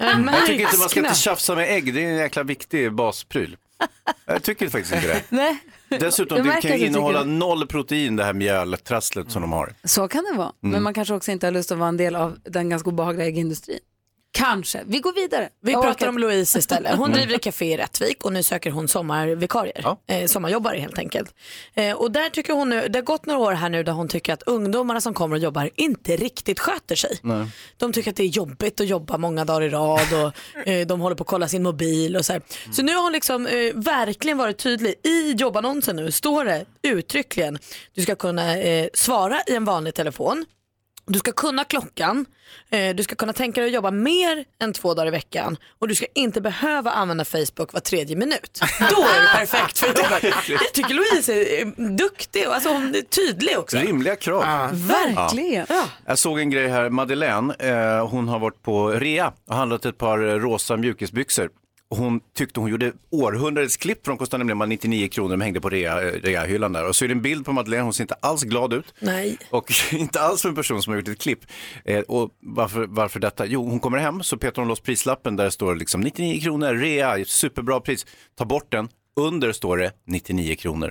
C: Jag tycker inte man ska inte tjafsa med ägg, det är en jäkla viktig baspryl. Jag tycker faktiskt inte det.
A: Nej. Jag
C: Dessutom det
A: märker
C: kan
A: att
C: ju
A: du
C: innehålla
A: tycker
C: noll protein det här mjöltrasslet som de har.
A: Så kan det vara, men
C: Mm.
A: man kanske också inte har lust att vara en del av den ganska obehagliga äggindustrin. Kanske, vi går vidare.
B: Vi
A: Jag
B: pratar
A: orkar
B: om
A: inte.
B: Louise istället. Hon driver ett café i Rättvik och nu söker hon sommarvikarier, eh, sommarjobbare helt enkelt. Eh, och där tycker hon nu, det har gått några år här nu där hon tycker att ungdomarna som kommer och jobbar inte riktigt sköter sig. De tycker att det är jobbigt att jobba många dagar i rad och eh, de håller på att kolla sin mobil och så här. Så nu har hon liksom eh, verkligen varit tydlig. I jobbannonsen nu står det uttryckligen, du ska kunna eh, svara i en vanlig telefon. Du ska kunna klockan, eh, du ska kunna tänka dig att jobba mer än två dagar i veckan och du ska inte behöva använda Facebook var tredje minut. Då är det perfekt för jobbet. Jag tycker Louise är eh, duktig och alltså hon är tydlig också.
C: Rimliga krav.
A: Verkligen.
C: Ja. Jag såg en grej här, Madeleine, eh, hon har varit på rea och handlat ett par eh, rosa mjukisbyxor. Hon tyckte hon gjorde århundradets klipp för de kostade nämligen bara 99 kronor, de hängde på rea, eh, reahyllan där. Och så är det en bild på Madeleine, hon ser inte alls glad ut.
B: Nej.
C: Och inte alls för en person som har gjort ett klipp. Eh, och varför, varför detta? Jo, hon kommer hem så petar hon loss prislappen där det står liksom 99 kronor, rea, superbra pris. Ta bort den, under står det 99 kronor.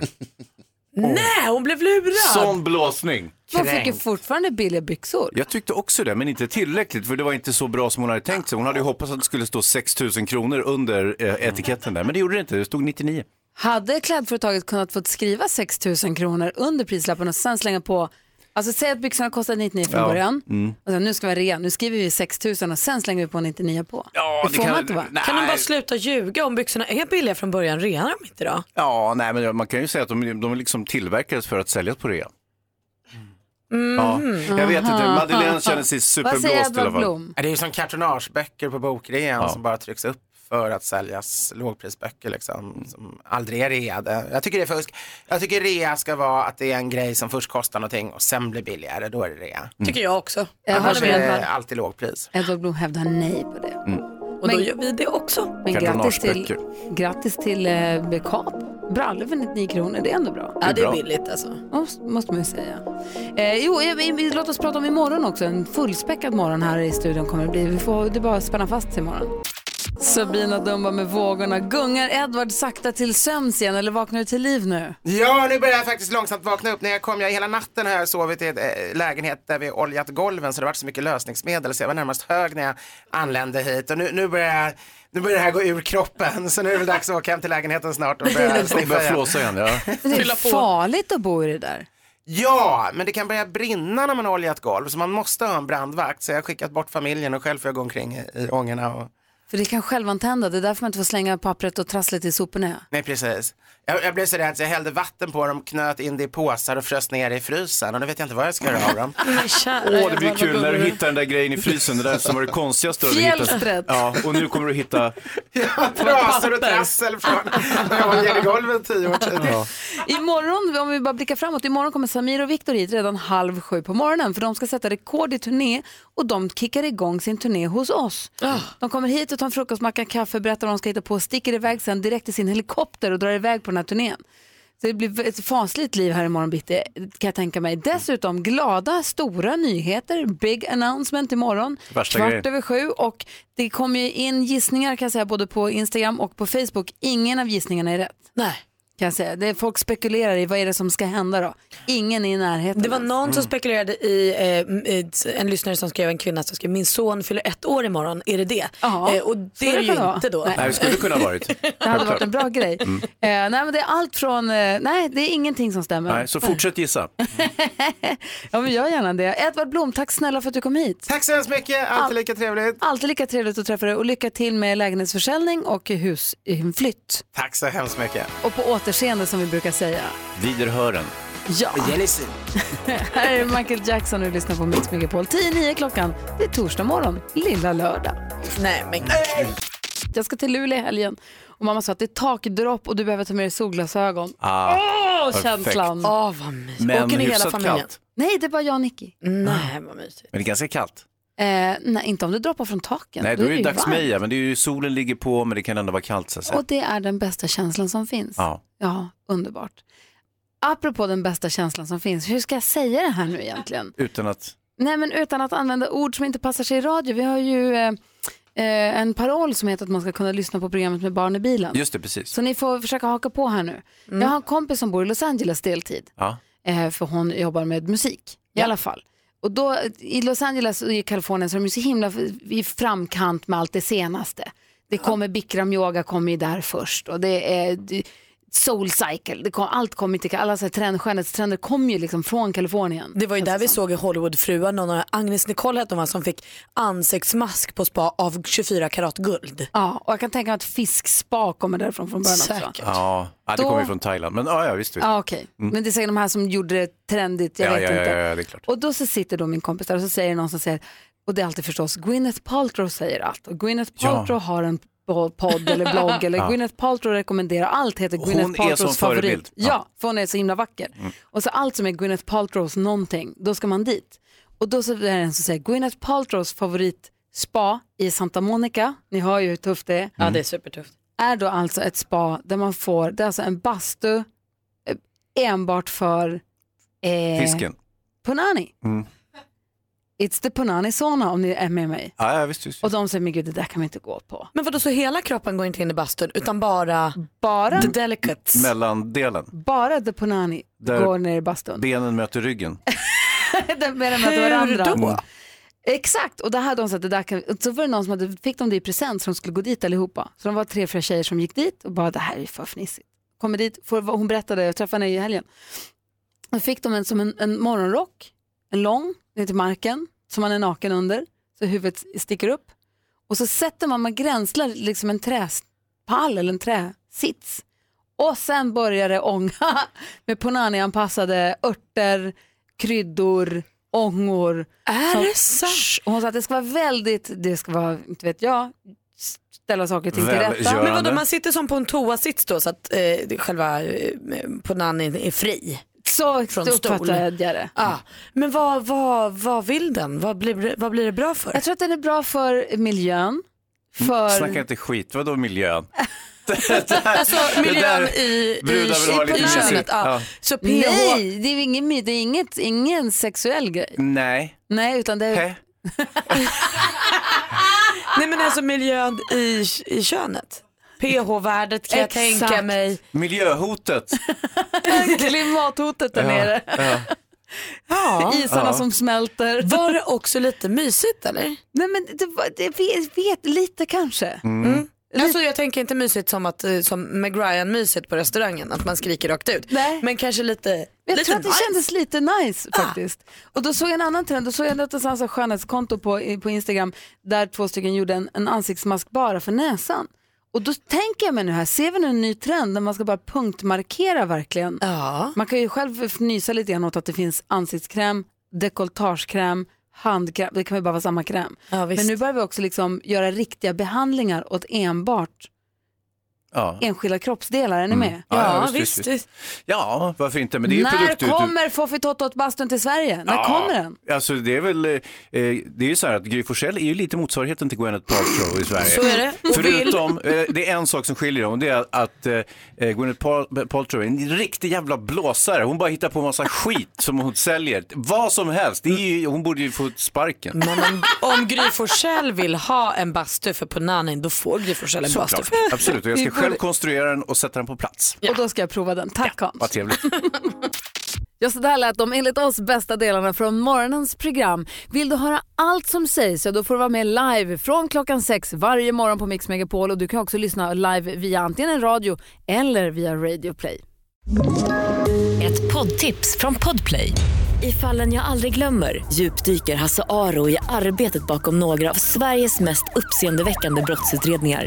B: Alltså, Nej, hon blev lurad.
C: Sån blåsning!
A: Man fick ju fortfarande billiga byxor.
C: Jag tyckte också det, men inte tillräckligt för det var inte så bra som hon hade tänkt sig. Hon hade ju hoppats att det skulle stå 6 000 kronor under eh, etiketten där, men det gjorde det inte. Det stod 99.
A: Hade klädföretaget kunnat fått skriva 6 000 kronor under prislappen och sen slänga på, alltså säg att byxorna kostade 99 från
C: Ja.
A: början,
C: Mm.
A: och sen, nu ska vi ha rea, nu skriver vi 6 000 och sen slänger vi på 99 på.
C: Ja,
A: det får man inte va?
C: nej.
B: Kan Mm. de bara sluta ljuga om byxorna är billiga från början? Renar de inte då?
C: Ja, nej, men man kan ju säga att de, de liksom tillverkades för att säljas på rea. Ja, jag vet inte. Madeleine känner sig superblåst i alla fall.
A: Blom?
Q: Det är ju som kartonageböcker på bokrean som bara trycks upp för att säljas lågprisböcker liksom, som aldrig är reade. Jag tycker det är fusk. Jag tycker rea ska vara att det är en grej som först kostar någonting och sen blir billigare, då är det rea.
A: Mm.
B: Tycker jag också.
Q: Annars är det alltid lågpris.
A: Edvard Blom hävdar nej på
B: Mm.
A: det.
B: Och då gör vi det också.
A: Men grattis till, grattis till eh, Bekap. Brallor för 99 kronor, det är ändå bra.
B: Ja, det är billigt alltså.
A: Måste, måste man ju säga. Eh, jo, eh, vi- vi- låt oss prata om imorgon också. En fullspäckad morgon här i studion kommer det bli. Vi får, det är bara att spänna fast sig imorgon. Sabina Dumba med vågorna. Gungar Edvard sakta till sömns igen eller vaknar du till liv nu?
Q: Ja, nu börjar jag faktiskt långsamt vakna upp. När jag kom, jag, hela natten har jag sovit i en eh, lägenhet där vi oljat golven så det har varit så mycket lösningsmedel så jag var närmast hög när jag anlände hit. Och nu, nu, börjar, jag- nu börjar det här gå ur kroppen så nu är det väl dags att åka hem till lägenheten snart och börja
C: De
Q: sniffa
C: börjar
Q: igen.
C: flåsa igen, ja.
A: Det är
Q: Fylla på.
A: farligt att bo i det där.
Q: Ja, men det kan börja brinna när man har oljat golv så man måste ha en brandvakt. Så jag har skickat bort familjen och själv får jag gå omkring i, i ångorna. Och...
A: För det kan självantända. Det är därför man inte får slänga pappret och trasslet i soporna.
Q: Nej, precis. Jag, jag blev så rädd så jag hällde vatten på dem, knöt in det i påsar och frös ner det i frysen. Och nu vet jag inte vad jag ska göra av dem.
C: Åh, det blir kul när du hittar den där grejen i frysen, det där som var det konstigaste du hade hittat.
Q: Fjällstret.
C: Ja, och nu kommer du hitta...
Q: Trasor och trassel från när jag oljade golvet tio år tidigare.
C: Ja.
A: Imorgon, om vi bara blickar framåt, imorgon kommer Samir och Viktor hit redan halv sju på morgonen för de ska sätta rekord i turné och de kickar igång sin turné hos oss. De kommer hit och tar en frukostmacka, en kaffe, berättar vad de ska hitta på, sticker iväg sen direkt i sin helikopter och drar iväg på den här turnén. Så det blir ett fasligt liv här imorgon bitti kan jag tänka mig. Dessutom glada, stora nyheter, big announcement imorgon.
C: Värsta
A: kvart
C: grejen.
A: över sju och det kommer ju in gissningar kan jag säga både på Instagram och på Facebook. Ingen av gissningarna är rätt.
B: Nej.
A: Kan jag säga. Det är folk spekulerar i vad är det som ska hända då. Ingen är i närheten.
B: Det var
A: ens.
B: någon som
C: Mm.
B: spekulerade i, eh, m- i en lyssnare som skrev en kvinna som skrev min son fyller ett år imorgon, är det det? Eh, och
A: så
B: det är
A: det
B: det ju
A: kan det vara.
B: inte då.
A: Nej.
C: Nej, det skulle kunna ha varit.
A: Det hade varit en bra grej.
C: Mm.
A: Eh, nej, men det är allt från, eh, nej det är ingenting som stämmer.
C: Nej, så fortsätt gissa.
A: Ja men gör gärna det. Edvard Blom, tack snälla för att du kom hit.
Q: Tack så hemskt mycket, alltid lika trevligt.
A: Alltid lika trevligt att träffa dig och lycka till med lägenhetsförsäljning och husflytt.
Q: Tack så hemskt mycket.
A: Och på återseende som vi brukar säga.
C: Viderhören.
A: Ja. Här är Michael Jackson och du lyssnar på Mix Megapol. 10-9 klockan, det är torsdag morgon, lilla lördag.
B: Nej men gud.
A: Jag ska till Luleå i helgen och mamma sa att det är takdropp och du behöver ta med dig solglasögon.
C: Ah,
A: Åh,
C: perfekt.
A: känslan!
B: Åh, vad mysigt.
C: Men Åker ni hela hyfsat familjen? kallt.
A: Nej, det är bara jag och Nicky.
B: Nej, vad mysigt.
C: Men det är ganska kallt.
A: Eh, nej, inte om det droppar från taken.
C: Nej, då är det ju
A: ju
C: dags
A: varmt.
C: meja, men det är ju solen ligger på, men det kan ändå vara kallt så att säga.
A: Och det är den bästa känslan som finns.
C: Ja.
A: Ja, underbart. Apropå den bästa känslan som finns, hur ska jag säga det här nu egentligen?
C: Utan att...
A: Nej, men utan att använda ord som inte passar sig i radio. Vi har ju eh, eh, en paroll som heter att man ska kunna lyssna på programmet med barn i bilen.
C: Just det, Mm. precis.
A: Så ni får försöka haka på här nu. Jag har en kompis som bor i Los Angeles deltid,
C: Ja.
A: eh, för hon jobbar med musik i alla fall. Och då, I Los Angeles och i Kalifornien så är de ju så himla f- i framkant med allt det senaste. Det kommer Bikram yoga kommer ju där först och det är d- Soul Cycle, det kom, allt kommer till alla så här trend, skönhetstrender kommer ju liksom från Kalifornien. Alltså.
B: Det var ju där vi såg i Hollywoodfruar, någon av Agnes Nicole hette hon va, som fick ansiktsmask på spa av 24 karat guld.
A: Ja, och jag kan tänka mig att fiskspa kommer därifrån från början också.
C: Ja, ja det
A: Då-
C: kommer ju från Thailand, men ja, ja visst. visst.
A: Ja, okej.
C: Mm.
A: Men det är säkert de här som gjorde det trendigt, jag
C: ja,
A: vet
C: ja,
A: inte.
C: Ja, ja, det är klart.
A: Och då så sitter då min kompis där och så säger någon som säger, och det är alltid förstås, Gwyneth Paltrow säger allt. Och Gwyneth
C: Ja.
A: Paltrow har en po- podd eller blogg eller
C: Ja.
A: Gwyneth Paltrow rekommenderar allt heter
C: Hon
A: Gwyneth
C: är
A: Paltrows
C: som
A: favorit.
C: förebild.
A: Ja.
C: Ja. Mm.
A: för hon är så himla vacker. Och så allt som är Gwyneth Paltrows någonting, då ska man dit. Och då så är det en som säger Gwyneth Paltrows favorit spa i Santa Monica, ni hör ju hur tufft det är
B: Ja, det är supertufft.
A: är då alltså ett spa där man får, det är alltså en bastu eh, enbart för eh,
C: Fisken.
A: punani.
C: Mm.
A: It's the punani sauna om ni är med mig.
C: Ja, ja, visst, visst.
A: Och de säger, men gud det där kan vi inte gå på.
B: Men vadå, så hela kroppen går inte in i bastun utan bara,
A: bara?
B: the delicates?
C: Mellandelen,
A: Bara the punani
C: Där-
A: går ner i bastun.
C: benen möter ryggen.
A: de menar med
C: Hur
A: varandra.
C: då?
A: Exakt, och det hade de sagt, det där kan, och så var det någon som hade, fick de det i present så de skulle gå dit allihopa. Så de var tre, fyra tjejer som gick dit och bara det här är för fnissigt. Kommer dit, får, vad hon berättade, jag träffade henne i helgen. Då fick de en, som en, en morgonrock, en lång, ner till marken, som man är naken under, så huvudet sticker upp. Och så sätter man, man gränslar liksom en träpall eller en träsits. Och sen börjar det ånga med punani-anpassade örter, kryddor, ångor.
B: Är
A: Som-
B: det sant?
A: Shh. Och hon sa att det ska vara väldigt, det ska vara, inte vet jag, ställa saker och ting till rätta.
B: Men vadå, man sitter som på en toasits då så att eh, det- själva eh, punanin är fri?
A: Så
B: från
A: så
B: stol.
A: uppfattar jag det.
B: Ah, men vad, vad, vad vill den? Vad blir, det- vad blir det bra för? Mm.
A: Jag tror att den är bra för miljön, för...
C: Snacka inte skit, vadå miljön?
B: Alltså miljön
C: där-
B: i, i,
C: brudar vill ha
B: i
C: lite
B: punanin.
C: kyssigt.
B: Ja.
C: Ja.
B: Så pH.
A: Nej, det är, ingen, my- det är inget, ingen sexuell grej.
C: Nej.
A: Nej, utan det är...
C: Hä?
B: Nej men alltså miljön i, i könet. PH-värdet kan jag
A: Exakt.
B: tänka mig.
C: Miljöhotet.
A: Klimathotet där
C: Ja,
A: nere.
C: ja.
B: Ja.
A: Isarna
C: Ja.
A: som smälter.
B: Var det också lite mysigt eller?
A: Nej men det, var- det vet, vet lite kanske.
B: Mm. Alltså, jag tänker inte mysigt som, att, eh, som Meg Ryan-mysigt på restaurangen, att man skriker rakt ut.
A: Nej.
B: Men kanske lite,
A: Men Jag
B: lite Ah.
A: tror att det kändes lite nice faktiskt. Och då såg jag en annan trend, då såg jag någonstans ett skönhetskonto på, i- på Instagram där två stycken gjorde en, en ansiktsmask bara för näsan. Och då tänker jag mig nu här, ser vi nu en ny trend där man ska bara punktmarkera verkligen? Man kan ju själv fnysa lite grann åt att det finns ansiktskräm, dekolletagekräm, handkräm, det kan ju bara vara samma kräm.
B: Ja, visst.
A: Men nu börjar vi också liksom göra riktiga behandlingar åt enbart
C: Ja.
A: enskilda kroppsdelar. Är ni med?
C: Ja, varför inte? Men det är ju
A: När
C: produktutbud.
A: kommer Foffitottot bastun till Sverige? När
C: Ja,
A: kommer den?
C: Alltså det är väl, eh, det är ju så här att Gry Forssell är ju lite motsvarigheten till Gwyneth Paltrow i Sverige.
A: Så är det, och
C: Förutom, eh, det är en sak som skiljer dem, det är att eh, Gwyneth Pal- Paltrow är en riktig jävla blåsare. Hon bara hittar på massa skit som hon säljer. Vad som helst, det är ju, hon borde ju få sparken.
B: Men om, om Gry Forssell vill ha en bastu för Punanin då får Gry Forssell en bastu.
C: Såklart, absolut. Och jag ska själv konstruera den och sätta den på plats.
A: Och då ska jag prova den. Tack Hans.
C: Vad trevligt.
A: Ja, så där lät de enligt oss bästa delarna från morgonens program. Vill du höra allt som sägs så då får du vara med live från klockan sex varje morgon på Mix Megapol och du kan också lyssna live via antingen en radio eller via Radio Play.
T: Ett poddtips från Podplay. I fallen jag aldrig glömmer djupdyker Hasse Aro i arbetet bakom några av Sveriges mest uppseendeväckande brottsutredningar.